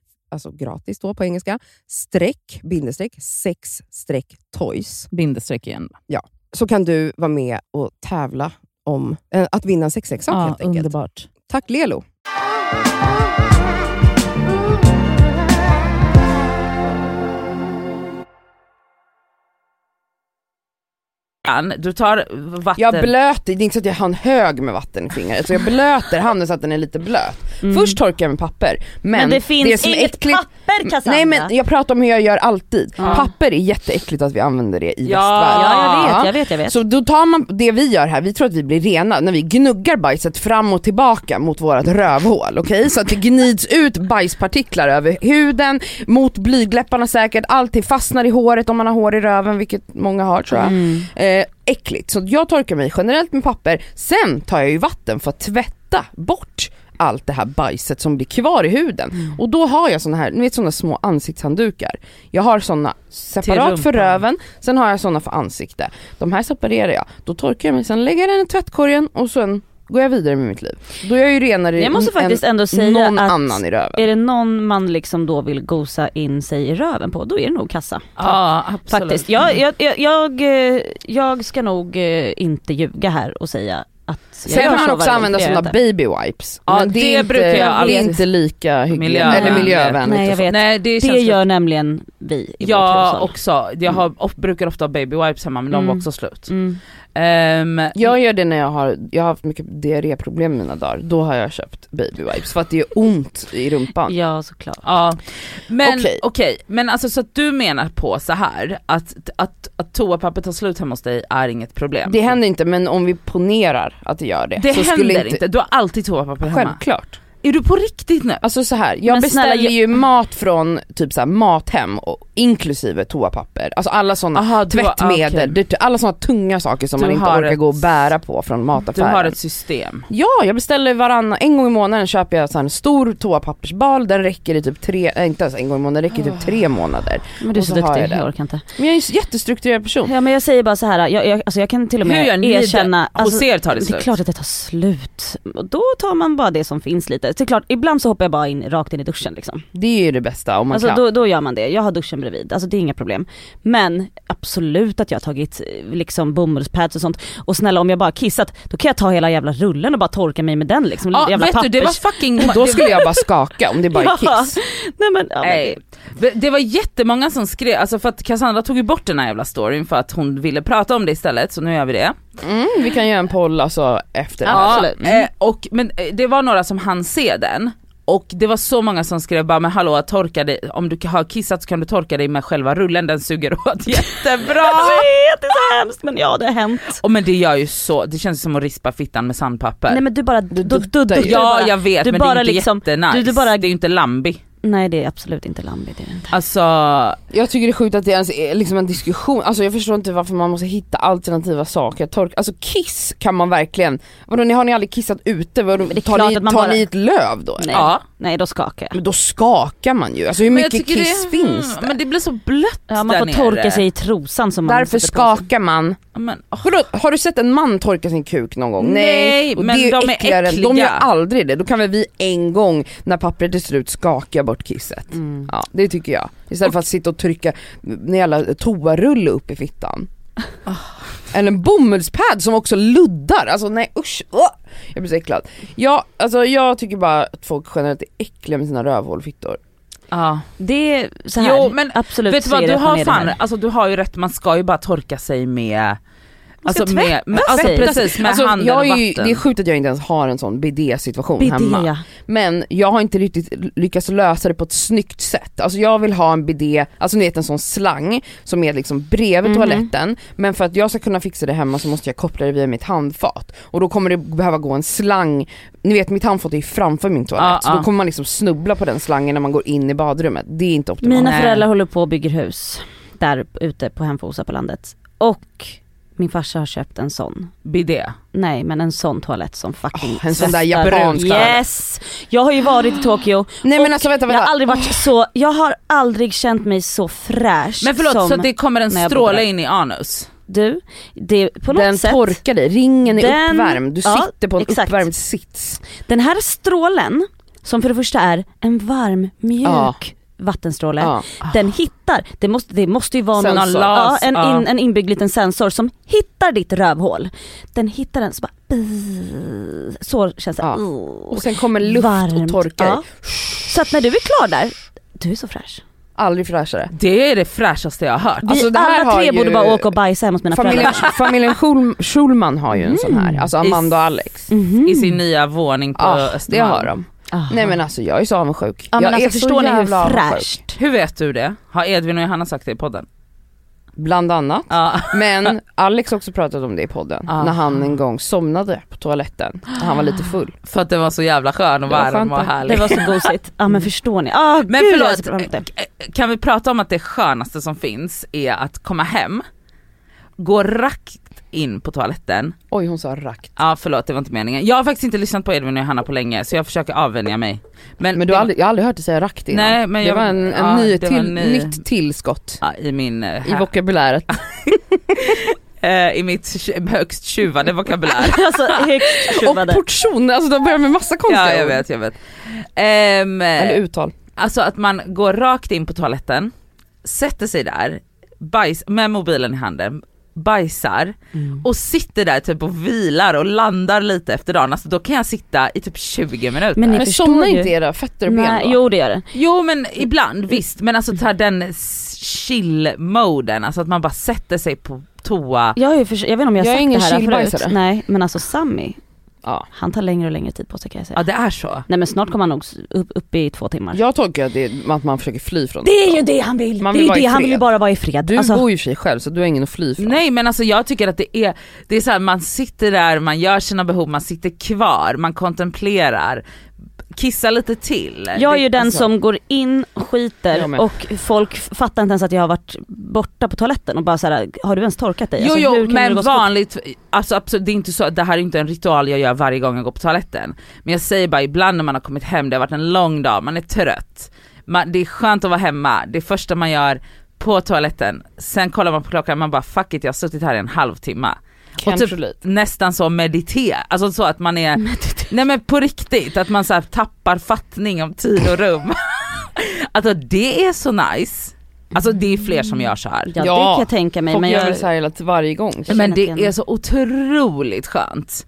alltså gratis då på engelska, streck, bindestreck, sex streck toys. Bindestreck igen. Så kan du vara med och tävla om eh, att vinna en sexleksak Ja, helt enkelt. underbart. Tack Lelo! Ann, Du tar vatten. Jag blöter, det är inte så att jag har en hög med vatten i fingret, så jag blöter handen så att den är lite blöt. Först torkar jag med papper, men, Mm. Men det finns som är inget papper Cassandra. Nej men jag pratar om hur jag gör alltid. Ja. Papper är jätteäckligt att vi använder det i Ja. västvärlden. Ja jag vet, jag vet, jag vet. Så då tar man, det vi gör här, vi tror att vi blir rena när vi gnuggar bajset fram och tillbaka mot vårt rövhål. Okej? Så att det gnids ut bajspartiklar över huden, mot blygläpparna säkert, allting fastnar i håret om man har hår i röven, vilket många har tror jag. Eh, äckligt. Så jag torkar mig generellt med papper, sen tar jag ju vatten för att tvätta bort allt det här bajset som blir kvar i huden. Mm. Och då har jag såna här, ni vet såna små ansiktshanddukar. Jag har såna separat för rumpan. röven, sen har jag såna för ansikte. De här separerar jag, då torkar jag mig, sen lägger jag den i tvättkorgen och sen går jag vidare med mitt liv. Då är jag ju renare Jag måste än faktiskt ändå säga någon att annan i röven. är det någon man liksom då vill gosa in sig i röven på, då är det nog kassa. Ja, absolut. Faktiskt. Jag, Mm. jag, jag, jag, eh, jag ska nog eh, inte ljuga här och säga att jag Sen gör kan man så också varje använda gång, för jag såna gör inte. baby wipes. Ja, Men det är brukar inte, jag aldrig- Det är inte lika Miljövänligt. miljövänligt. Eller miljövänligt. Nej jag och vet, Nej det det känns gör nämligen vi i vårt Ja hushåll. också, jag har, of, brukar ofta ha baby wipes hemma men de var Mm. också slut. Mm. Ehm, Jag gör det när jag har, jag har haft mycket diarréproblem i mina dagar, då har jag köpt baby wipes för att det gör ont i rumpan. Ja såklart. ja. Men okej, Okej. men alltså så att du menar på så här att, att, att toapappret tar slut hemma hos dig är inget problem? Det händer inte men om vi ponerar att det gör det, Det så händer inte. du har alltid toapapper hemma. Självklart. Är du på riktigt nu? Alltså så här, jag Men snälla, beställer jag- ju mat från typ så här, mathem och, inklusive toapapper, alltså alla sådana Aha, du har- tvättmedel, Ah, okej. det- alla sådana tunga saker som Du man inte har orkar ett- gå och bära på från Du mataffären. har ett system. Ja, jag beställer varannan, en gång i månaden köper jag så här en stor toapappersbal, den räcker i typ tre, äh, inte ens en gång i månaden, den räcker i typ tre månader. Men du är Och så, så har duktig, jag jag, det. orkar inte. Men jag är en jättestrukturerad person. Ja men jag säger bara så här. jag, jag, alltså jag kan till och Hur gör med ni det? erkänna, alltså, hos er tar det det är slut. klart att det tar slut. Och då tar man bara det som finns lite. Det är klart, ibland så hoppar jag bara in rakt in i duschen liksom. Det är ju det bästa om man Alltså kan. då, då gör man det, jag har duschen bredvid, alltså det är inga problem. Men absolut att jag har tagit eh, liksom bomullspads och sånt. Och snälla om jag bara kissat, då kan jag ta hela jävla rullen och bara torka mig med den liksom. Ja, jävla vet du, det var fucking... Då skulle jag bara skaka om det bara är Ja. kiss. Nej men, ja, men Nej. det, Det- Det var jättemånga som skrev, alltså för att Cassandra tog ju bort den här jävla storyn för att hon ville prata om det istället, så nu gör vi det. Mm, vi kan göra en poll alltså efter. Ja, eh, och, men eh, det var några som hann se den och det var så många som skrev bara men hallå torka dig, om du har kissat så kan du torka dig med själva rullen, den suger åt jättebra. det är så hemskt men ja det har hänt. och men det gör ju så, det känns som att rispa fittan med sandpapper. Nej men du bara, du, du, du, duttar ju. du ja bara, jag vet du men det bara är inte liksom- jättenice, du- du bara- det är ju inte Lambi. Nej det är absolut inte Lambi, det är det inte. Alltså, Jag tycker det är sjukt att det ens är liksom en diskussion, alltså jag förstår inte varför man måste hitta alternativa saker. Tork, alltså kiss kan man verkligen, vadå ni har ni aldrig kissat ute? Vadå, det är tar klart ni, att man tar bara- ni ett löv då? Nej, ja. nej då skakar jag. Men då skakar man ju, alltså hur Men jag mycket tycker kiss det, finns mm, det? Men det blir så blött Ja, man där får nere. torka sig i trosan som man Därför sätter på sig. skakar man. Men, åh, Vadå, har du sett en man torka sin kuk någon gång? Nej, Och men det är de är äckligare. De äckliga. gör aldrig det, då kan väl vi en gång när pappret är slut skaka bort kisset. Mm. Ja, det tycker jag. Istället för att sitta och trycka en jävla toarulle upp i fittan. Ah. Eller en bomullspad som också luddar, alltså nej usch. Åh! Jag blir så äcklad. Jag, alltså, jag tycker bara att folk generellt är äckliga med sina rövhål och fittor. ja. Det är så här, Jo, men absolut Vet du så är vad, det du att man har, är det fan, här. alltså, du har ju rätt, man ska ju bara torka sig med Alltså med, med, tvätta alltså sig. precis, med Alltså, handen jag är och ju, vatten. det är sjukt att jag inte ens har en sån BD-situation hemma. Bidea. Men jag har inte riktigt lyckats lösa det på ett snyggt sätt. Alltså jag vill ha en bidé, alltså ni vet en sån slang som är liksom Mm. bredvid toaletten. Men för att jag ska kunna fixa det hemma så måste jag koppla det via mitt handfat. Och då kommer det behöva gå en slang, ni vet mitt handfat är ju framför min toalett. Ja, så ja. då kommer man liksom snubbla på den slangen när man går in i badrummet. Det är inte optimalt. Mina Nej. föräldrar håller på och bygger hus där ute på Hemfosa på landet. Och min farsa har köpt en sån. Bidé. Nej men en sån toalett som fucking Åh, en sån där tvättar. japansk Yes! Jag har ju varit i Tokyo Nej men Och alltså vänta Jag har vänta. aldrig varit så, jag har aldrig känt mig så fräsch Men förlåt, som så att det kommer en när jag stråle bodde där. in i anus? du. Det, på något Den sätt, torkar dig, ringen är Den- uppvärmd, du ja, sitter på en exakt. uppvärmd sits. den här strålen, som för det första är en varm, mjuk Ja. vattenstråle, Ja. den hittar, det måste, det måste ju vara någon, Sensor. Alltså, ja, en, Ja. in, en inbyggd liten sensor som hittar ditt rövhål. Den hittar den så bara, "Bzzz." så känns det. Ja. "Åh." Och sen kommer luft och Varmt, torkar dig. ja. Så att när du är klar där, du är så fräsch. Aldrig fräschare. Det är det fräschaste jag har hört. Vi Alltså, det här alla tre har borde ju- bara åka och bajsa hemma hos mina Familjen, föräldrar. Mm. familjen Schul- Schulman har ju en sån här, alltså Amanda och Alex. Mhm. I sin nya våning på Ja, Ah, det Östermalm. har de. Nej men alltså jag är så avundsjuk. Ah. Ja, men jag alltså, är så förstår ni jävla hur avundsjuk. fräscht? Hur vet du det? Har Edvin och Johanna sagt det i podden? Bland annat. Ja. Men Alex har också pratat om det i podden, Ah. Ja. när han en gång somnade på toaletten. när Han var lite full. För att det var så jävla skön och Det var varm skönt och det. Det härlig. var så gosigt. Ja men förstår ni? Ah, Men gud, jag har förlåt, sett fram emot det. kan vi prata om att det skönaste som finns är att komma hem, gå rakt in på toaletten, Oj hon sa rakt. ja förlåt det var inte meningen. Jag har faktiskt inte lyssnat på Edvin och Johanna på länge så jag försöker avvänja mig. Men du har aldrig, jag har aldrig hört dig säga rakt innan. Nej, men det jag- var en, en ja, ny det var till, en ny- nytt tillskott Ja, i min, eh, i vokabuläret. eh, i mitt tj- högst tjuvade vokabulär. Alltså högst Och tjuvade. portion, alltså de börjar med massa konstiga ja jag ord. vet, jag vet. Ehm, Eller uttal. Alltså att man går rakt in på toaletten, sätter sig där, bajs, med mobilen i handen, bajsar Mm. och sitter där typ och vilar och landar lite efter dagen. Alltså då kan jag sitta i typ 20 minuter. Men ni Men förstår somnar ju. inte era fötter och ben Nej, då? jo det gör det. Jo men ibland visst, men alltså ta den s- chill-moden, alltså att man bara sätter sig på toa. Jag, har ju förs- jag vet inte om jag har Jag är sagt ingen det här förut. chillbajsare. Nej men alltså Sammy, Ja. han tar längre och längre tid på sig kan jag säga. Ja det är så. Nej men snart kommer han nog s- upp, upp i två timmar. Jag tolkar att, det, är- att man försöker fly från Det är ju det han vill! Man det vill är vara ju i det, han fred. vill ju bara vara i fred. Du alltså, bor ju i och för sig själv så du har ingen att fly från. Nej men alltså jag tycker att det är, det är så här, man sitter där, man gör sina behov, man sitter kvar, man kontemplerar, kissar lite till. jag är ju Det- den alltså- som går in, Jag med. skiter och folk f- fattar inte ens att jag har varit borta på toaletten och bara såhär, har du ens torkat dig? Jo Alltså, hur jo kan du men gå så fort? vanligt, alltså absolut, det är inte så, det här är inte en ritual jag gör varje gång jag går på toaletten. Men jag säger bara ibland när man har kommit hem, det har varit en lång dag, man är trött. Man, det är skönt att vara hemma, det första man gör på toaletten, sen kollar man på klockan, man bara fuck it jag har suttit här i en halvtimme. Can't typ- relate. Nästan så meditera, alltså så att man är, nej men på riktigt, att man så här tappar fattning om tid och rum. alltså det är så nice. Alltså det är fler som gör så här. Ja, det Ja, kan jag tänka mig Folk men gör jag... väl såhär hela- varje gång. Jag Men känner inte det igen är så otroligt skönt.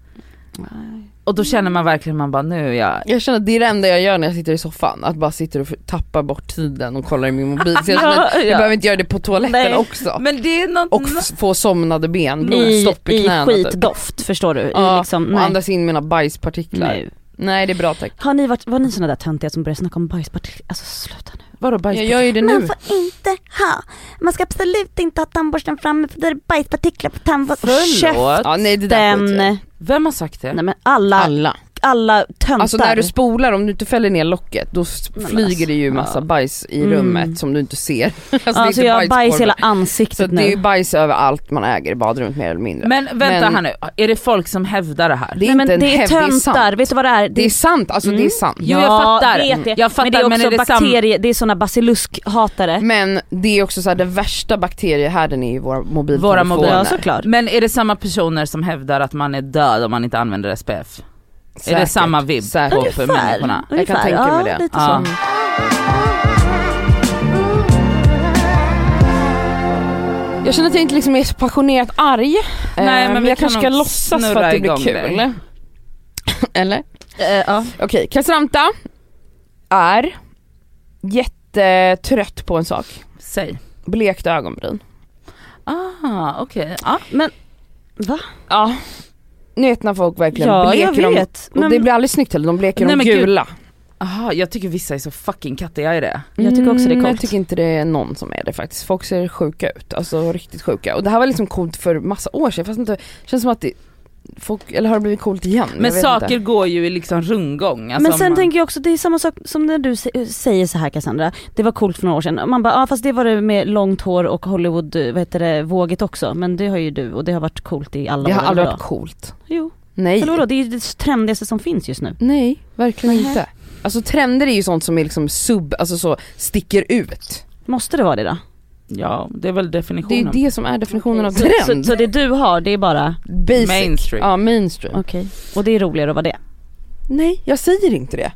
Och då känner man verkligen, man bara nu är jag... Jag känner att det är det enda jag gör när jag sitter i soffan, att bara sitter och tappar bort tiden och kollar i min mobil. Så jag, känner att jag ja. behöver inte göra det på toaletten Nej. också. Men det är något... Och f- få somnade ben, i, blodstopp i, i knäna typ. skitdoft förstår du. I Ja, liksom, och nej. andas in mina bajspartiklar. Nej. Nej. det är bra tack. Har ni varit, var ni såna där töntiga som började snacka om bajspartiklar? Alltså sluta nu. vadå bajs? Jag gör ju det nu. får inte ha, man ska absolut inte ha tandborsten framme för det är bajspartiklar på tandborsten. Förlåt? Ja, nej det där Den, skiter jag i. nej Vem har sagt det? men alla, alla, Alla. alla töntar. Alltså när du spolar, om du inte fäller ner locket då s- Men flyger alltså, det ju massa ja. bajs i Mm. rummet som du inte ser. Alltså, ja, så jag har bajs i hela ansiktet Så nu. det är ju bajs över allt man äger i badrummet mer eller mindre. Men vänta Men- här nu, är det folk som hävdar det här? det är Nej, men inte en det häv- är det är sant. töntar, vet du vad det är? Det är sant, alltså det är sant. Mm. Jo, jag fattar. Mm. Vet jag. Jag fattar, men det är men också är det sam- bakterier, det är såna basiluskhatare. Men det är också så här, den värsta bakteriehärden är ju våra mobiltelefoner. Våra mobil- Ja såklart. Men är det samma personer som hävdar att man är död om man inte använder SPF? Är det Säkert. samma vibb Säkert. på för människorna? Jag kan tänka ja, mig det. Lite Ja. så. Jag känner att jag inte liksom är så passionerat arg. Eh, Mm. men vi jag kan kanske ska nog låtsas för snurra att det blir igång kul. dig. Eh, Eller? Eller? ja. Okej, Cassandra är jättetrött på en sak. Säg. Blekt ögonbryn. Ah, okej. Ja. Va? Ja. Ni vet när folk verkligen Ja jag bleker dem. vet. Och Men det blir aldrig snyggt heller, de bleker Nej, de men gud. gula. Aha, jag tycker vissa är så fucking kattiga i det. Jag tycker också det är Mm, Jag coolt. tycker inte det är någon som är det faktiskt. Folk ser sjuka ut, alltså riktigt sjuka. Och det här var liksom coolt för massa år sedan fast inte, känns som att det, folk, eller har det blivit coolt igen? Men Jag vet saker inte. går ju i liksom rundgång. Alltså men om sen man- tänker jag också, det är samma sak som när du sä- säger så här Cassandra, det var coolt för några år sedan. Man bara, ja ah, fast det var det med långt hår och Hollywood, eh, vad heter det, våget också. Men det har ju du och det har varit coolt i alla Det år. har eller aldrig vadå? varit coolt. Jo, Nej. eller vadå? Det är ju det trendigaste som finns just nu. Nej, verkligen inte. Alltså trender är ju sånt som är liksom sub, alltså så sticker ut. Måste det vara det då? Ja, det är väl Det är ju definitionen. det som är definitionen av Så, så, trend. så det du har, det är bara, Basic. Mainstream. Ja, mainstream. okej. Och det är roligare att vara det. Nej, jag säger inte det.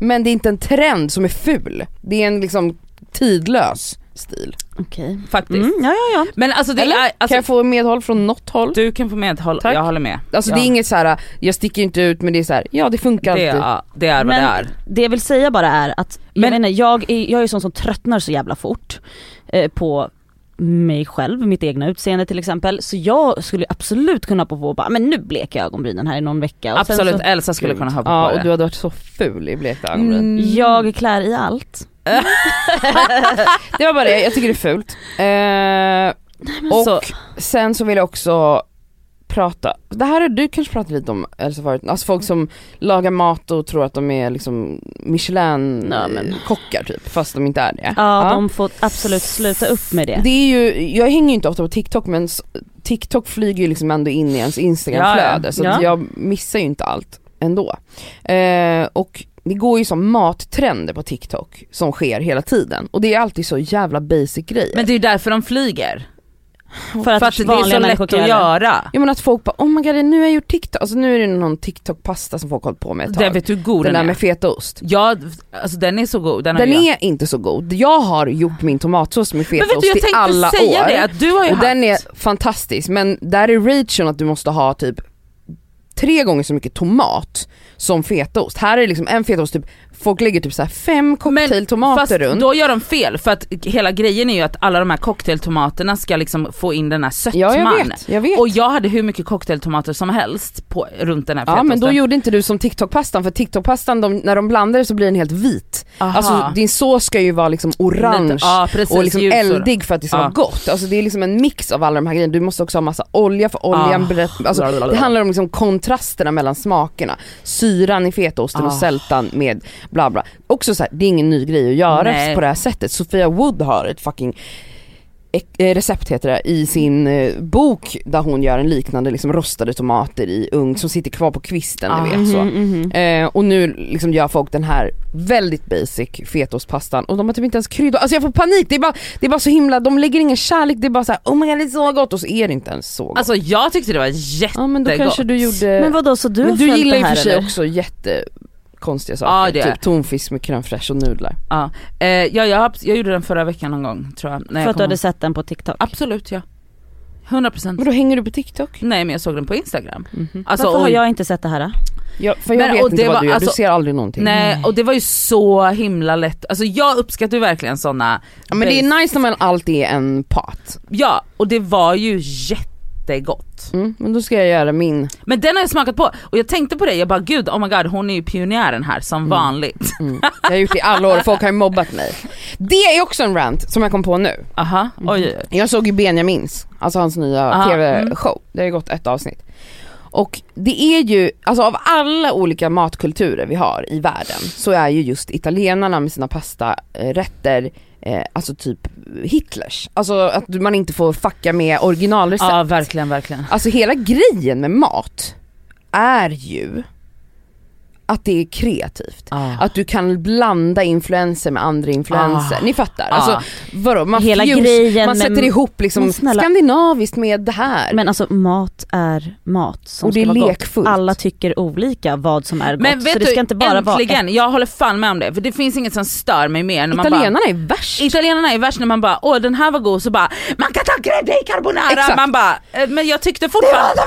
Men det är inte en trend som är ful. Det är en liksom tidlös stil. Okej. Faktiskt. Mm, ja, ja, ja. Men alltså, det Eller? är, kan alltså jag få medhåll från något håll? du kan få med, håll, Tack. jag håller med. Alltså ja. det är inget så här, jag sticker inte ut men det är så här, ja det funkar det, alltid. ja, det är vad Men- det är. Det jag vill säga bara är att, jag, Men- vet inte, jag, är, jag är sån som tröttnar så jävla fort eh, på mig själv, mitt egna utseende till exempel. Så jag skulle absolut kunna på på bara, men nu bleker jag ögonbrynen här i någon vecka. Och sen Absolut, Elsa skulle kunna ha på Ja och det. du hade varit så ful i blekta ögonbryn. Så, Mm. jag klär i allt. Det var bara det, jag tycker det är fult. Eh, och alltså- så- sen så vill jag också prata, det här har du kanske pratat lite om Elsa förut, alltså folk som lagar mat och tror att de är liksom Ja, men- Michelin-kockar typ fast de inte är det. Ja, Ja. de får absolut sluta upp med det. Det är ju, jag hänger ju inte ofta på TikTok men s- TikTok flyger ju liksom ändå in i ens Instagram-flöde Ja, ja. så att Ja. jag missar ju inte allt ändå. Eh, och det går ju som mattrender på TikTok som sker hela tiden och det är alltid så jävla basic grejer. Men det är ju därför de flyger. För att, För att det är vanliga så lätt människor att kan göra det. göra. Ja men att folk bara oh my god nu har jag gjort TikTok, alltså nu är det någon TikTok-pasta som folk har hållit på med ett Det tag. vet du hur god Den den där är. med fetaost. Ja, alltså den är så god. Den, Den har jag. är inte så god, jag har gjort min tomatsås med Men vet fetaost du jag i tänkte alla säga år. det att du har ju Och haft. den är fantastisk men där är ratio att du måste ha typ tre gånger så mycket tomat som fetaost. Här är det liksom en fetaost, typ, folk lägger typ så här fem Fast cocktailtomater runt. då gör de fel för att hela grejen är ju att alla de här cocktailtomaterna ska liksom få in den här sötman. Ja jag vet, jag vet. Och jag hade hur mycket cocktailtomater som helst på, runt den här Ja men då fetaosten. gjorde inte du som TikTok-pastan för TikTok-pastan de, när de blandar det så blir den helt vit. Aha. Alltså din sås ska ju vara liksom orange Lite- ja, precis, och liksom ljus eldig för att det ska Ja. vara gott. Alltså det är liksom en mix av alla de här grejerna. Du måste också ha massa olja för oljan Ah. berätt, alltså, Det handlar om liksom kontrasterna mellan smakerna. Syran i fetaosten och Ah. sältan med bla bla. Också så här, det är ingen ny grej att göra Nej. på det här sättet. Sofia Wood har ett fucking ek- eh, recept heter det, i sin eh, bok där hon gör en liknande liksom rostade tomater i ugn som sitter kvar på kvisten Ah. ni vet så. Mhm, mhm. Eh, och nu liksom gör folk den här väldigt basic fetaostpastan och de har typ inte ens kryddor, alltså jag får panik, det är bara, det är bara så himla, de lägger ingen kärlek, det är bara så här, oh my god det är så gott och så är det inte ens så gott. Alltså jag tyckte det var jättegott. ja men då kanske du gjorde, Men vadå, så du men har du följt gillar det ju här för sig eller? också jättekonstiga Ja, saker, det är. typ tonfisk med crème fraîche och nudlar. Ja. Eh, ja, jag, har- jag gjorde den förra veckan någon gång tror jag. För När jag att du kom hade hem. sett den på TikTok? Alltså, Absolut ja. 100% Men då hänger du på TikTok? Nej men jag såg den på Instagram. Alltså, Mhm. Varför har och- jag inte sett det här? då? Ja, för jag Men- vet och inte det vad var- du gör, alltså- du ser aldrig någonting. Nej och det var ju så himla lätt, alltså jag uppskattar ju verkligen sådana Ja, men det är nice när man alltid är en pat. Ja och det var ju jättegott. Mm, men då ska jag göra min. Men den har jag smakat på och jag tänkte på det, jag bara gud oh my god hon är ju pionjären här som vanligt. Mm. Jag har gjort det i alla år, folk har ju mobbat mig. Det är också en rant som jag kom på nu. Aha, oj oj oj. Jag såg ju Benjamins, alltså hans nya Aha, tv-show. Det har ju gått ett avsnitt. Och det är ju, alltså av alla olika matkulturer vi har i världen så är ju just italienarna med sina pastarätter eh, alltså typ Hitlers. Alltså att du- man inte får fucka med originalrecept. Ja verkligen, verkligen. Alltså hela grejen med mat är ju att det är kreativt. Ah. Att du kan blanda influenser med andra influenser. Ah. Ni fattar. Ah. Alltså, vadå, man, Hela fuse- grejen man med- sätter ihop liksom Men snälla- skandinaviskt med det här. Men alltså mat är mat som och det ska är vara gott. lekfullt. Alla tycker olika vad som är gott. Men så vet det du, ska inte bara vara äntligen, jag håller fan med om det. För det finns inget som stör mig mer när man bara Italienarna är värst. Italienarna är värst när man bara åh den här var god så bara man kan ta grädde i carbonara, Exakt. man bara "Eh, men jag tyckte fortfarande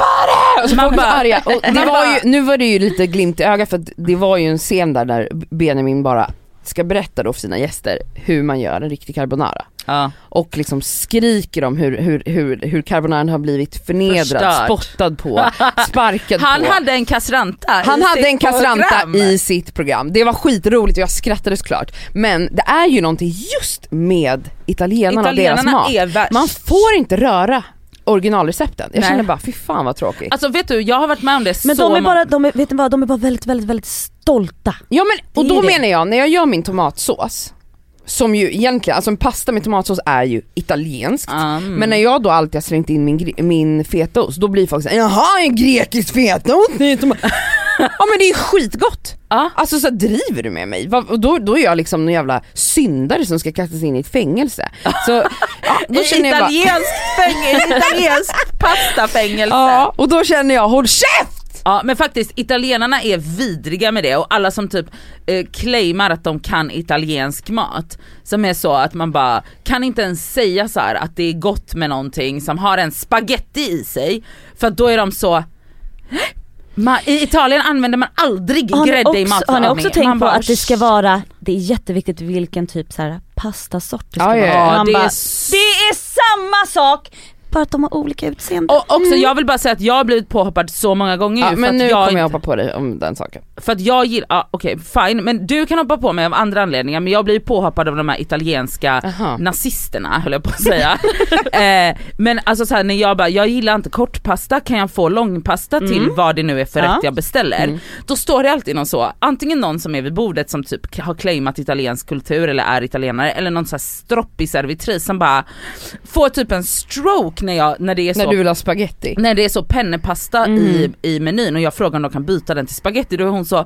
Och så Man Alltså, folk är bara- så arga. Och det Man var bara- ju, nu var det ju lite glimt i ögat för att det var ju en scen där, där Benjamin bara ska berätta då för sina gäster hur man gör en riktig carbonara. Ja. och liksom skriker om hur, hur, hur, hur carbonaran har blivit förnedrad, Förstörd. spottad på, sparkad Han på. hade en kastranta Han i hade sitt en kastranta program. i sitt program. Det var skitroligt och jag skrattade såklart. Men det är ju någonting just med italienarna och deras Italienarna mat. är värst. Man får inte röra originalrecepten. Jag Nej. känner bara fy fan vad tråkigt. Alltså vet du, jag har varit med om det Men så de är många bara, de är, vet ni vad, de är bara väldigt, väldigt, väldigt stolta. Ja men och Det är då det. menar jag, när jag gör min tomatsås, som ju egentligen, alltså en pasta med tomatsås är ju italienskt. Mm. Men när jag då alltid har slängt in min, gre- min fetaost, då blir folk såhär “Jaha, en grekisk fetaost?” det är toma-" Ja men det är skitgott! Ja. Alltså så här, driver du med mig? Va- Och då, då är jag liksom någon jävla syndare som ska kastas in i ett fängelse. Så, ja, då känner jag bara, italiensk, fängelse, italiensk pastafängelse. ja, och då känner jag “Håll käft!” Ja men faktiskt italienarna är vidriga med det och alla som typ eh, claimar att de kan italiensk mat som är så att man bara kan inte ens säga så här att det är gott med någonting som har en spaghetti i sig för att då är de så man, I Italien använder man aldrig Har ni grädde i också, har ni matlagning. också Man tänkt på bara, att det ska vara, det är jätteviktigt vilken typ så här pastasort det ska Ja, ja, vara. ja. Ja, Man det, bara, är så... det är samma sak, bara att de har olika utseende. Och också jag vill bara säga att jag har blivit påhoppad så många gånger Ja, ju men för, nu att jag, kommer jag hoppa på dig om den saken. för att jag gillar, ah, okej fine, men du kan hoppa på mig av andra anledningar men jag blir ju påhoppad av de här italienska Aha. nazisterna höll jag på att säga. eh, men alltså så här, när jag bara, jag gillar inte kortpasta, kan jag få långpasta Mm. till vad det nu är för Ja. rätt jag beställer? Då står det alltid någon så, antingen någon som är vid bordet som typ har claimat italiensk kultur eller är italienare eller någon så här stroppig servitris som bara får typ en stroke när, jag, när det är så Mm. När du vill ha spaghetti. när det är så pennepasta Mm. i, i menyn och jag frågar om de kan byta den till spaghetti då är hon så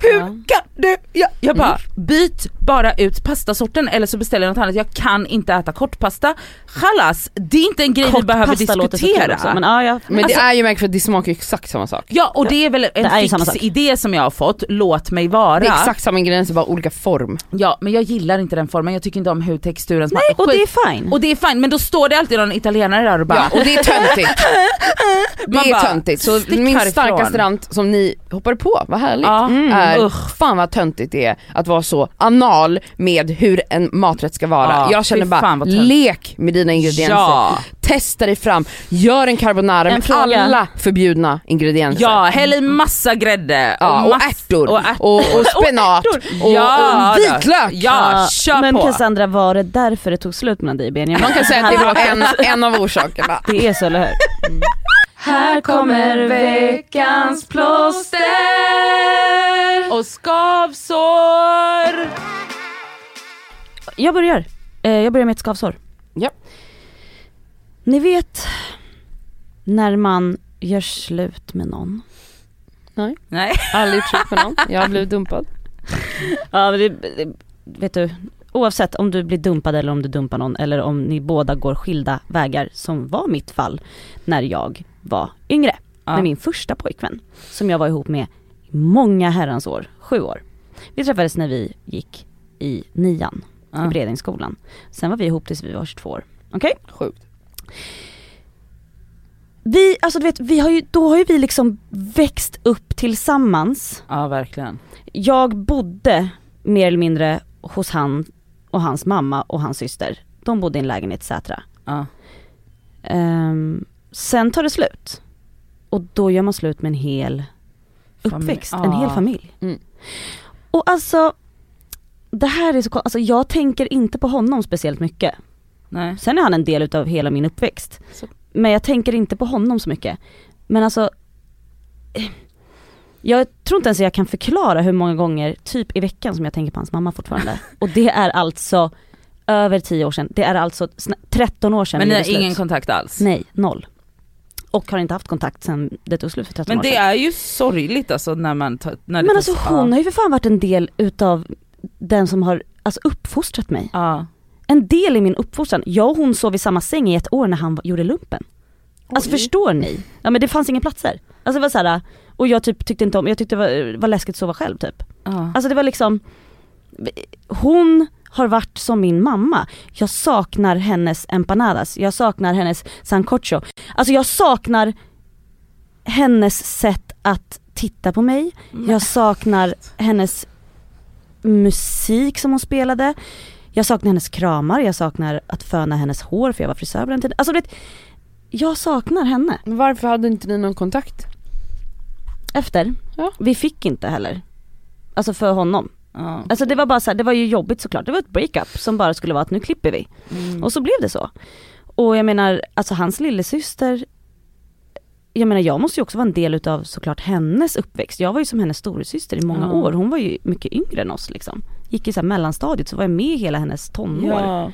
Hur kan du? Jag, jag bara Mm. byt bara ut pastasorten eller så beställer jag något annat. Jag kan inte äta kortpasta. Chalas, det är inte en grej vi behöver pasta låter så kul diskutera. också, men, ja, ja. Men Alltså- det är ju märkligt för det smakar ju exakt samma sak. Ja och det är väl en Det är ju samma fix sak. idé som jag har fått, låt mig vara. Det är exakt samma ingredienser, bara olika form. Ja men jag gillar inte den formen, jag tycker inte om hur texturen smakar. Nej, och det Skit. är fine. och det är fine men då står det alltid någon italienare där och bara Ja, och det är töntigt. Det Man är bara, töntigt. Så "Stick min härifrån." starkaste rant som ni hoppade på, vad härligt, Mm. Ja. Mm. är Usch. fan vad töntigt det är att vara så anal med hur en maträtt ska vara. Ja, Jag känner fy bara, fan vad töntigt. lek med dina ingredienser. Ja. Testa dig fram, gör en carbonara En med fråga. alla förbjudna ingredienser. Ja, häll i massa grädde Ja, och, mass- ärtor, och, och ärtor. och, spenat och, och, Ja, då. vitlök. Ja, Ja, kör men på. Cassandra var det därför det tog slut mellan dig och Benjamin? Man kan säga att det var en, en av orsakerna. Det är så eller hur? Här kommer veckans plåster. Och skavsår! Jag börjar. Eh, Jag börjar med ett skavsår. Ja. Ni vet när man gör slut med någon. Nej. Aldrig trött med någon, jag blev dumpad. Ja, men det, det, vet du, oavsett om du blir dumpad eller om du dumpar någon eller om ni båda går skilda vägar som var mitt fall när jag var yngre. Ja. Med min första pojkvän som jag var ihop med i många herrans år, sju år. Vi träffades när vi gick i nian Ja. i Bredingsskolan. Sen var vi ihop tills vi var 22 år. Okej? Sjukt. Vi, alltså du vet, vi har ju, då har ju vi liksom växt upp tillsammans Ja verkligen. jag bodde mer eller mindre hos han och hans mamma och hans syster. De bodde i en lägenhet i Sätra. Ja. Ehm, sen tar det slut. Och då gör man slut med en hel Familj. uppväxt, Ja. en hel familj. Mm. Och alltså, det här är så kon- alltså jag tänker inte på honom speciellt mycket. Nej. Sen är han en del utav hela min uppväxt. Så- Men jag tänker inte på honom så mycket. Men alltså, eh, jag tror inte ens jag kan förklara hur många gånger, typ i veckan, som jag tänker på hans mamma fortfarande. Och det är alltså över 10 år sedan, det är alltså sna- 13 år sedan Men vi ni gjorde har ingen slut. kontakt alls? Nej, noll. Och har inte haft kontakt sedan det tog slut för 13 Men år det sedan. är ju sorgligt alltså när man tar, när det Men tas- alltså hon har ju för fan varit en del utav den som har alltså, uppfostrat mig. ja. Ja. En del i min uppfostran. Jag och hon sov i samma säng i ett år när han var- gjorde lumpen. Alltså förstår ni? Ja men det fanns inga platser. Alltså det var såhär, och jag typ tyckte inte om, jag tyckte det var, var läskigt att sova själv typ. Ja. Alltså det var liksom, hon har varit som min mamma. Jag saknar hennes empanadas, jag saknar hennes sancocho. Alltså jag saknar hennes sätt att titta på mig. Jag saknar hennes musik som hon spelade. Jag saknar hennes kramar, jag saknar att föna hennes hår för jag var frisör på den tiden. Alltså du vet, jag saknar henne Men varför hade inte ni någon kontakt? efter. Ja. Vi fick inte heller. Alltså för honom. Ja. Alltså det var bara så här, det var ju jobbigt såklart. Det var ett breakup som bara skulle vara att nu klipper vi. Mm. Och så blev det så. Och jag menar, alltså hans lillasyster, jag menar jag måste ju också vara en del utav såklart hennes uppväxt. Jag var ju som hennes storasyster i många Ja. år. Hon var ju mycket yngre än oss liksom. Gick i så här mellanstadiet så var jag med i hela hennes tonår. Ja.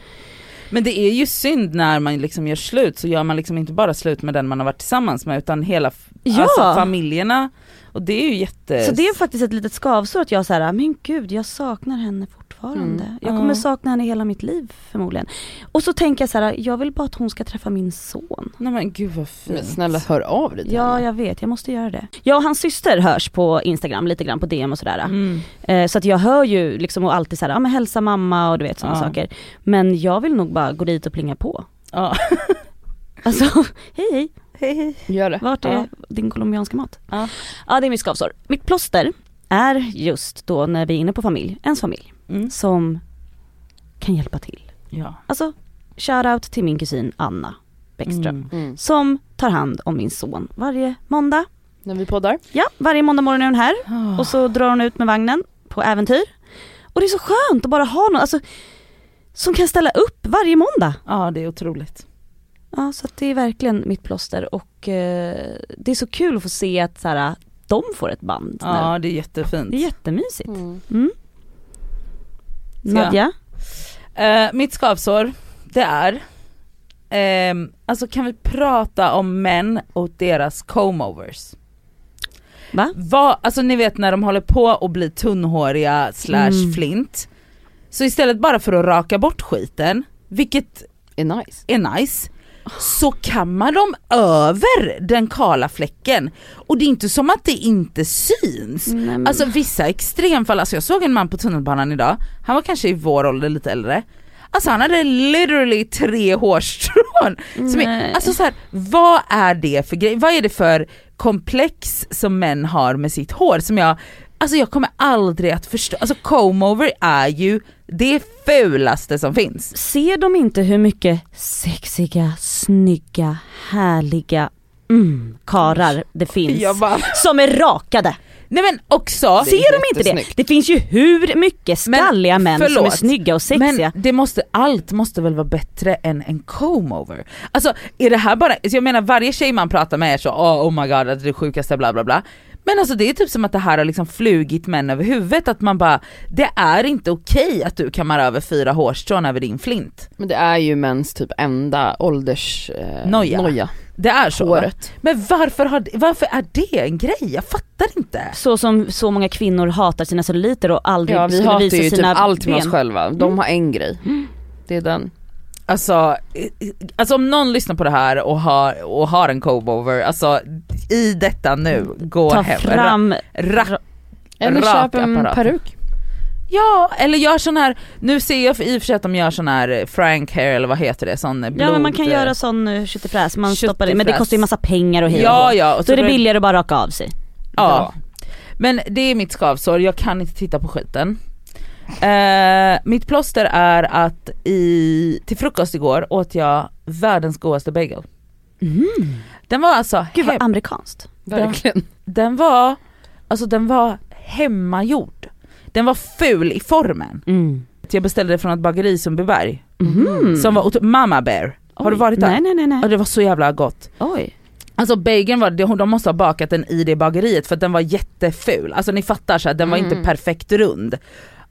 Men det är ju synd när man liksom gör slut så gör man liksom inte bara slut med den man har varit tillsammans med utan hela f- Ja. alltså, familjerna. Och det är ju jätte... Så det är faktiskt ett litet skavsår att jag såhär, men gud jag saknar henne fortfarande. Jag kommer Mm. Ja. sakna henne hela mitt liv förmodligen. Och så tänker jag såhär, jag vill bara att hon ska träffa min son. Nej men gud vad fint. Men snälla hör av dig till Ja henne. jag vet, jag måste göra det. Jag och hans syster hörs på Instagram lite grann på DM och sådär. Mm. Eh, Så att jag hör ju liksom och alltid såhär, ja men hälsa mamma och du vet sådana Ja. saker. Men jag vill nog bara gå dit och plinga på. Ja. Alltså, hej hej, Gör det. vart är Ja. din colombianska mat? Ja. ja det är mitt skavsår. Mitt plåster är just då när vi är inne på familj, ens familj, Mm. som kan hjälpa till. Ja. Alltså, shoutout till min kusin Anna Bäckström. Mm. Mm. Som tar hand om min son varje måndag. När vi poddar. Ja, varje måndag morgon är hon här. Ah. Och så drar hon ut med vagnen på äventyr. Och det är så skönt att bara ha någon alltså, som kan ställa upp varje måndag. Ja det är otroligt. Ja, så att det är verkligen mitt plåster och eh, det är så kul att få se att så här, de får ett band Ja nu. det är jättefint. Det är jättemysigt. Mm. Ska jag? Nadja? Eh, mitt skavsår, det är, ehm, alltså kan vi prata om män och deras comeovers? Va? Vad, alltså ni vet när de håller på att bli tunnhåriga slash Mm. flint. Så istället bara för att raka bort skiten, vilket Är nice. är nice, så kammar de över den kala fläcken. Och det är inte som att det inte syns. Nej, men- Alltså vissa extremfall, alltså jag såg en man på tunnelbanan idag, han var kanske i vår ålder lite äldre. Alltså han hade literally tre hårstrån. Som är, Nej. alltså så här, vad är det för grej? Vad är det för komplex som män har med sitt hår som jag, alltså jag kommer aldrig att förstå. Alltså comb-over är ju det fulaste som finns. Ser de inte hur mycket sexiga, snygga, härliga mm, karar det finns? Jag bara, Som är rakade. nej men också, Det är Ser de inte det? jättesnyggt. Det finns ju hur mycket Men, skalliga män som är förlåt, snygga och sexiga. men det måste, allt måste väl vara bättre än en comb-over? Alltså är det här bara, alltså, jag menar varje tjej man pratar med är så oh, oh my god det är det sjukaste bla bla bla. Men alltså det är typ som att det här har liksom flugit män över huvudet att man bara, det är inte okej att du kammar över fyra hårstrån över din flint. Men det är ju mäns typ enda ålders eh, Noja. noja. Det är så. va? Håret. Men varför, har, varför är det en grej? Jag fattar inte. Så som så många kvinnor hatar sina celluliter och aldrig Ja vi skulle hatar visa ju typ sina allt med ben. oss själva. De har en grej. Det är den. Alltså, eh, eh, alltså om någon lyssnar på det här och har, och har en comb-over, alltså i detta nu, gå Ta hem. fram, Ra- ra- Eller Raka köp en apparater. peruk. ja, eller gör sån här, nu ser jag för- i och för sig att de gör sån här eh, frank hair eller vad heter det? Sån eh, blod... ja men man kan eh, göra sån eh, köttfräs, man stoppar det, men det köttfräs. kostar ju massa pengar och hej och Ja hå. ja. och Då är det blir- billigare att bara raka av sig. Ja. Men det är mitt skavsår, jag kan inte titta på skiten. Eh, mitt plåster är att i, till frukost igår åt jag världens godaste bagel. Den var alltså Mm. Gud vad hem- amerikanskt. Verkligen. den var, alltså den var hemmagjord. Den var ful i formen. Mm. Jag beställde det från ett bageri i Sundbyberg Mhm. som var ot- Mama Bear. Har du Oj. varit där? Nej nej nej. nej. Och det var så jävla gott. Oj. Alltså bageln var, de de måste ha bakat den i det bageriet för att den var jätteful. Alltså ni fattar så här, den var Mm. inte perfekt rund.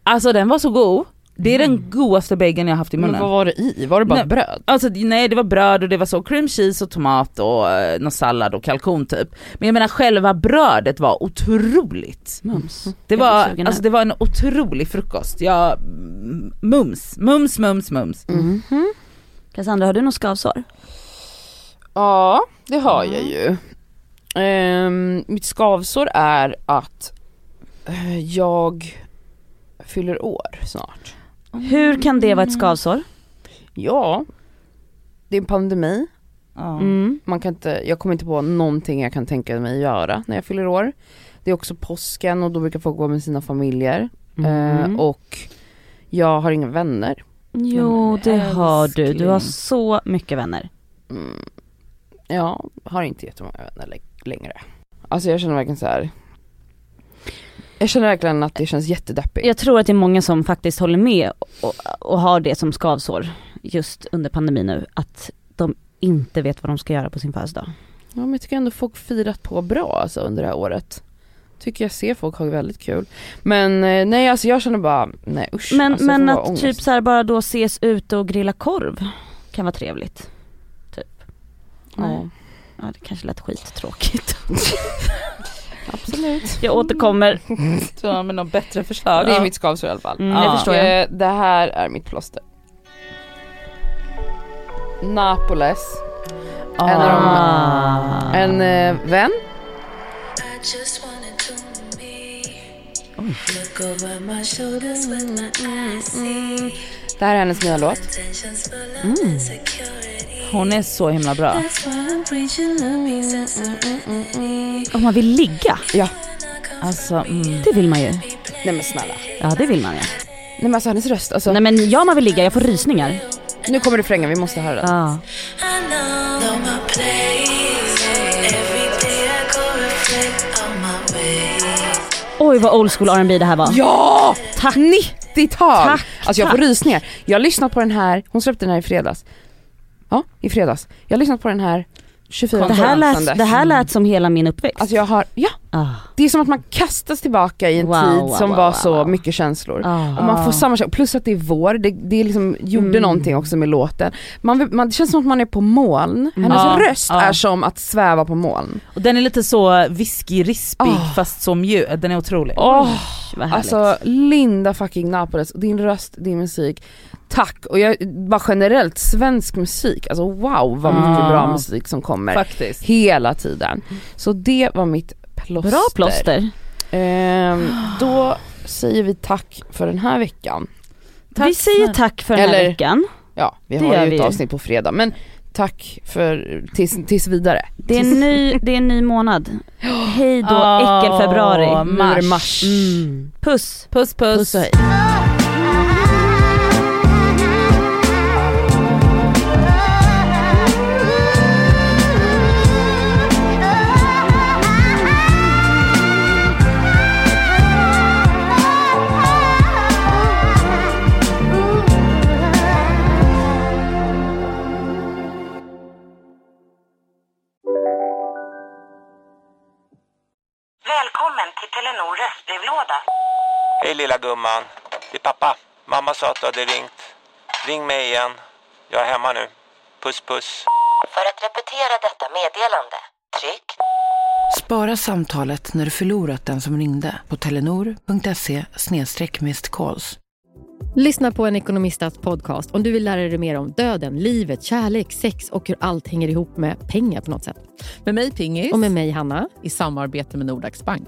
Alltså den var så god. Det är den godaste bageln jag haft i Mm. Men vad munnen. var det i? Var det bara Nej. bröd? Alltså nej det var bröd och det var så cream cheese och tomat och eh, någon sallad och kalkon typ. Men jag menar själva brödet var otroligt. Mums. Det Jag blir var, sugen alltså, nu. det var en otrolig frukost. Jag, mm, mums, mums, mums, mums. Mm. Mhm. Cassandra, har du något skavsår? Ja, det har jag ju. Ehm, mitt skavsår är att eh, jag fyller år snart. Hur kan det vara ett skavsår? Ja, det är en pandemi. Ja. Mm. Man kan inte, jag kommer inte på någonting jag kan tänka mig göra när jag fyller år. Det är också påsken och då brukar folk vara med sina familjer. Eh, Mm. och jag har inga vänner. Jo, det har du. Du har älskling. så mycket vänner. Mm. Jag har inte jättemånga vänner lä- längre. Alltså jag känner verkligen så här. Jag känner verkligen att det känns jättedeppigt. Jag tror att det är många som faktiskt håller med och, och har det som skavsår just under pandemin nu. Att de inte vet vad de ska göra på sin födelsedag. Ja men jag tycker ändå folk firat på bra alltså under det här året. Tycker jag ser folk ha väldigt kul. Men eh, nej alltså jag känner bara, nej usch. Men, alltså, jag får men bara att ångest. typ så här bara då ses ute och grilla korv kan vara trevligt. Typ. Ja, Ja det kanske lät skittråkigt. absolut. Jag återkommer. Så har med något bättre förslag. Det är mitt skavsår i alla fall. Mm, Ja. Det förstår jag. Eh, Det här är mitt plåster. Napoles. Ah. En av de, Ah. en eh, vän. I just wanna do me. Look over my shoulders when my eyes see Det här är hennes nya låt. tensions full of insecurity. Hon är så himla bra. That's why I'm preaching love, peace, and serenity. Om man vill ligga, Alltså, mm. det vill man ju. Nej men snälla. Ja det vill man ju. Nej men alltså hennes röst alltså. Nej men ja man vill ligga, jag får rysningar. Nu kommer refrängen, vi måste höra den. Ja. I know, know my place. Every day I go reflect on my ways. Oj vad old school R&B det här var. Ja! Tack! 90-tal! Tack, alltså jag får tack. rysningar. Jag har lyssnat på den här, hon släppte den här i fredags. Ja, i fredags. Jag har lyssnat på den här 24 Det här, timmar sedan lät, dess. det här lät som hela min uppväxt. Alltså jag har, ja. Ah. Det är som att man kastas tillbaka i en Wow, tid wow, som wow, var wow, så wow. mycket känslor. Ah. Mm. Och man får samma känsla, plus att det är vår, det, det liksom gjorde någonting också med låten. Man, vill- man, det känns som att man är på moln, Mm. hennes Ah. Ja, röst ja. är som att sväva på moln. Och den är lite så viskig, rispig fast så mjuk. Den är otrolig. Åh, Vad härligt. alltså Linda fucking Napoles, din röst, din musik, tack! Och jag, bara generellt, svensk musik, alltså wow vad mycket Ah. bra musik som kommer. Faktiskt. Hela tiden. Så det var mitt plåster. Bra plåster. Ehm, då säger vi tack för den här veckan. Vi säger tack för den här Eller- veckan. Ja, vi Det har gör ju ett vi. avsnitt på fredag men tack för tills, tills vidare. Det är, en ny, det är en ny månad. Hej då Åh, äckelfebruari. mars. Nu är det mars. Puss! Puss puss. Puss och hej. Välkommen till Telenor röstbrevlåda. Hej lilla gumman. Det är pappa. Mamma sa att du hade ringt. Ring mig igen. Jag är hemma nu. Puss puss. För att repetera detta meddelande, tryck Spara samtalet när du förlorat den som ringde på telenor.se calls. Lyssna på en ekonomistats podcast om du vill lära dig mer om döden, livet, kärlek, sex och hur allt hänger ihop med pengar på något sätt. Med mig Pingis. Och med mig, Hanna. I samarbete med Nordax Bank.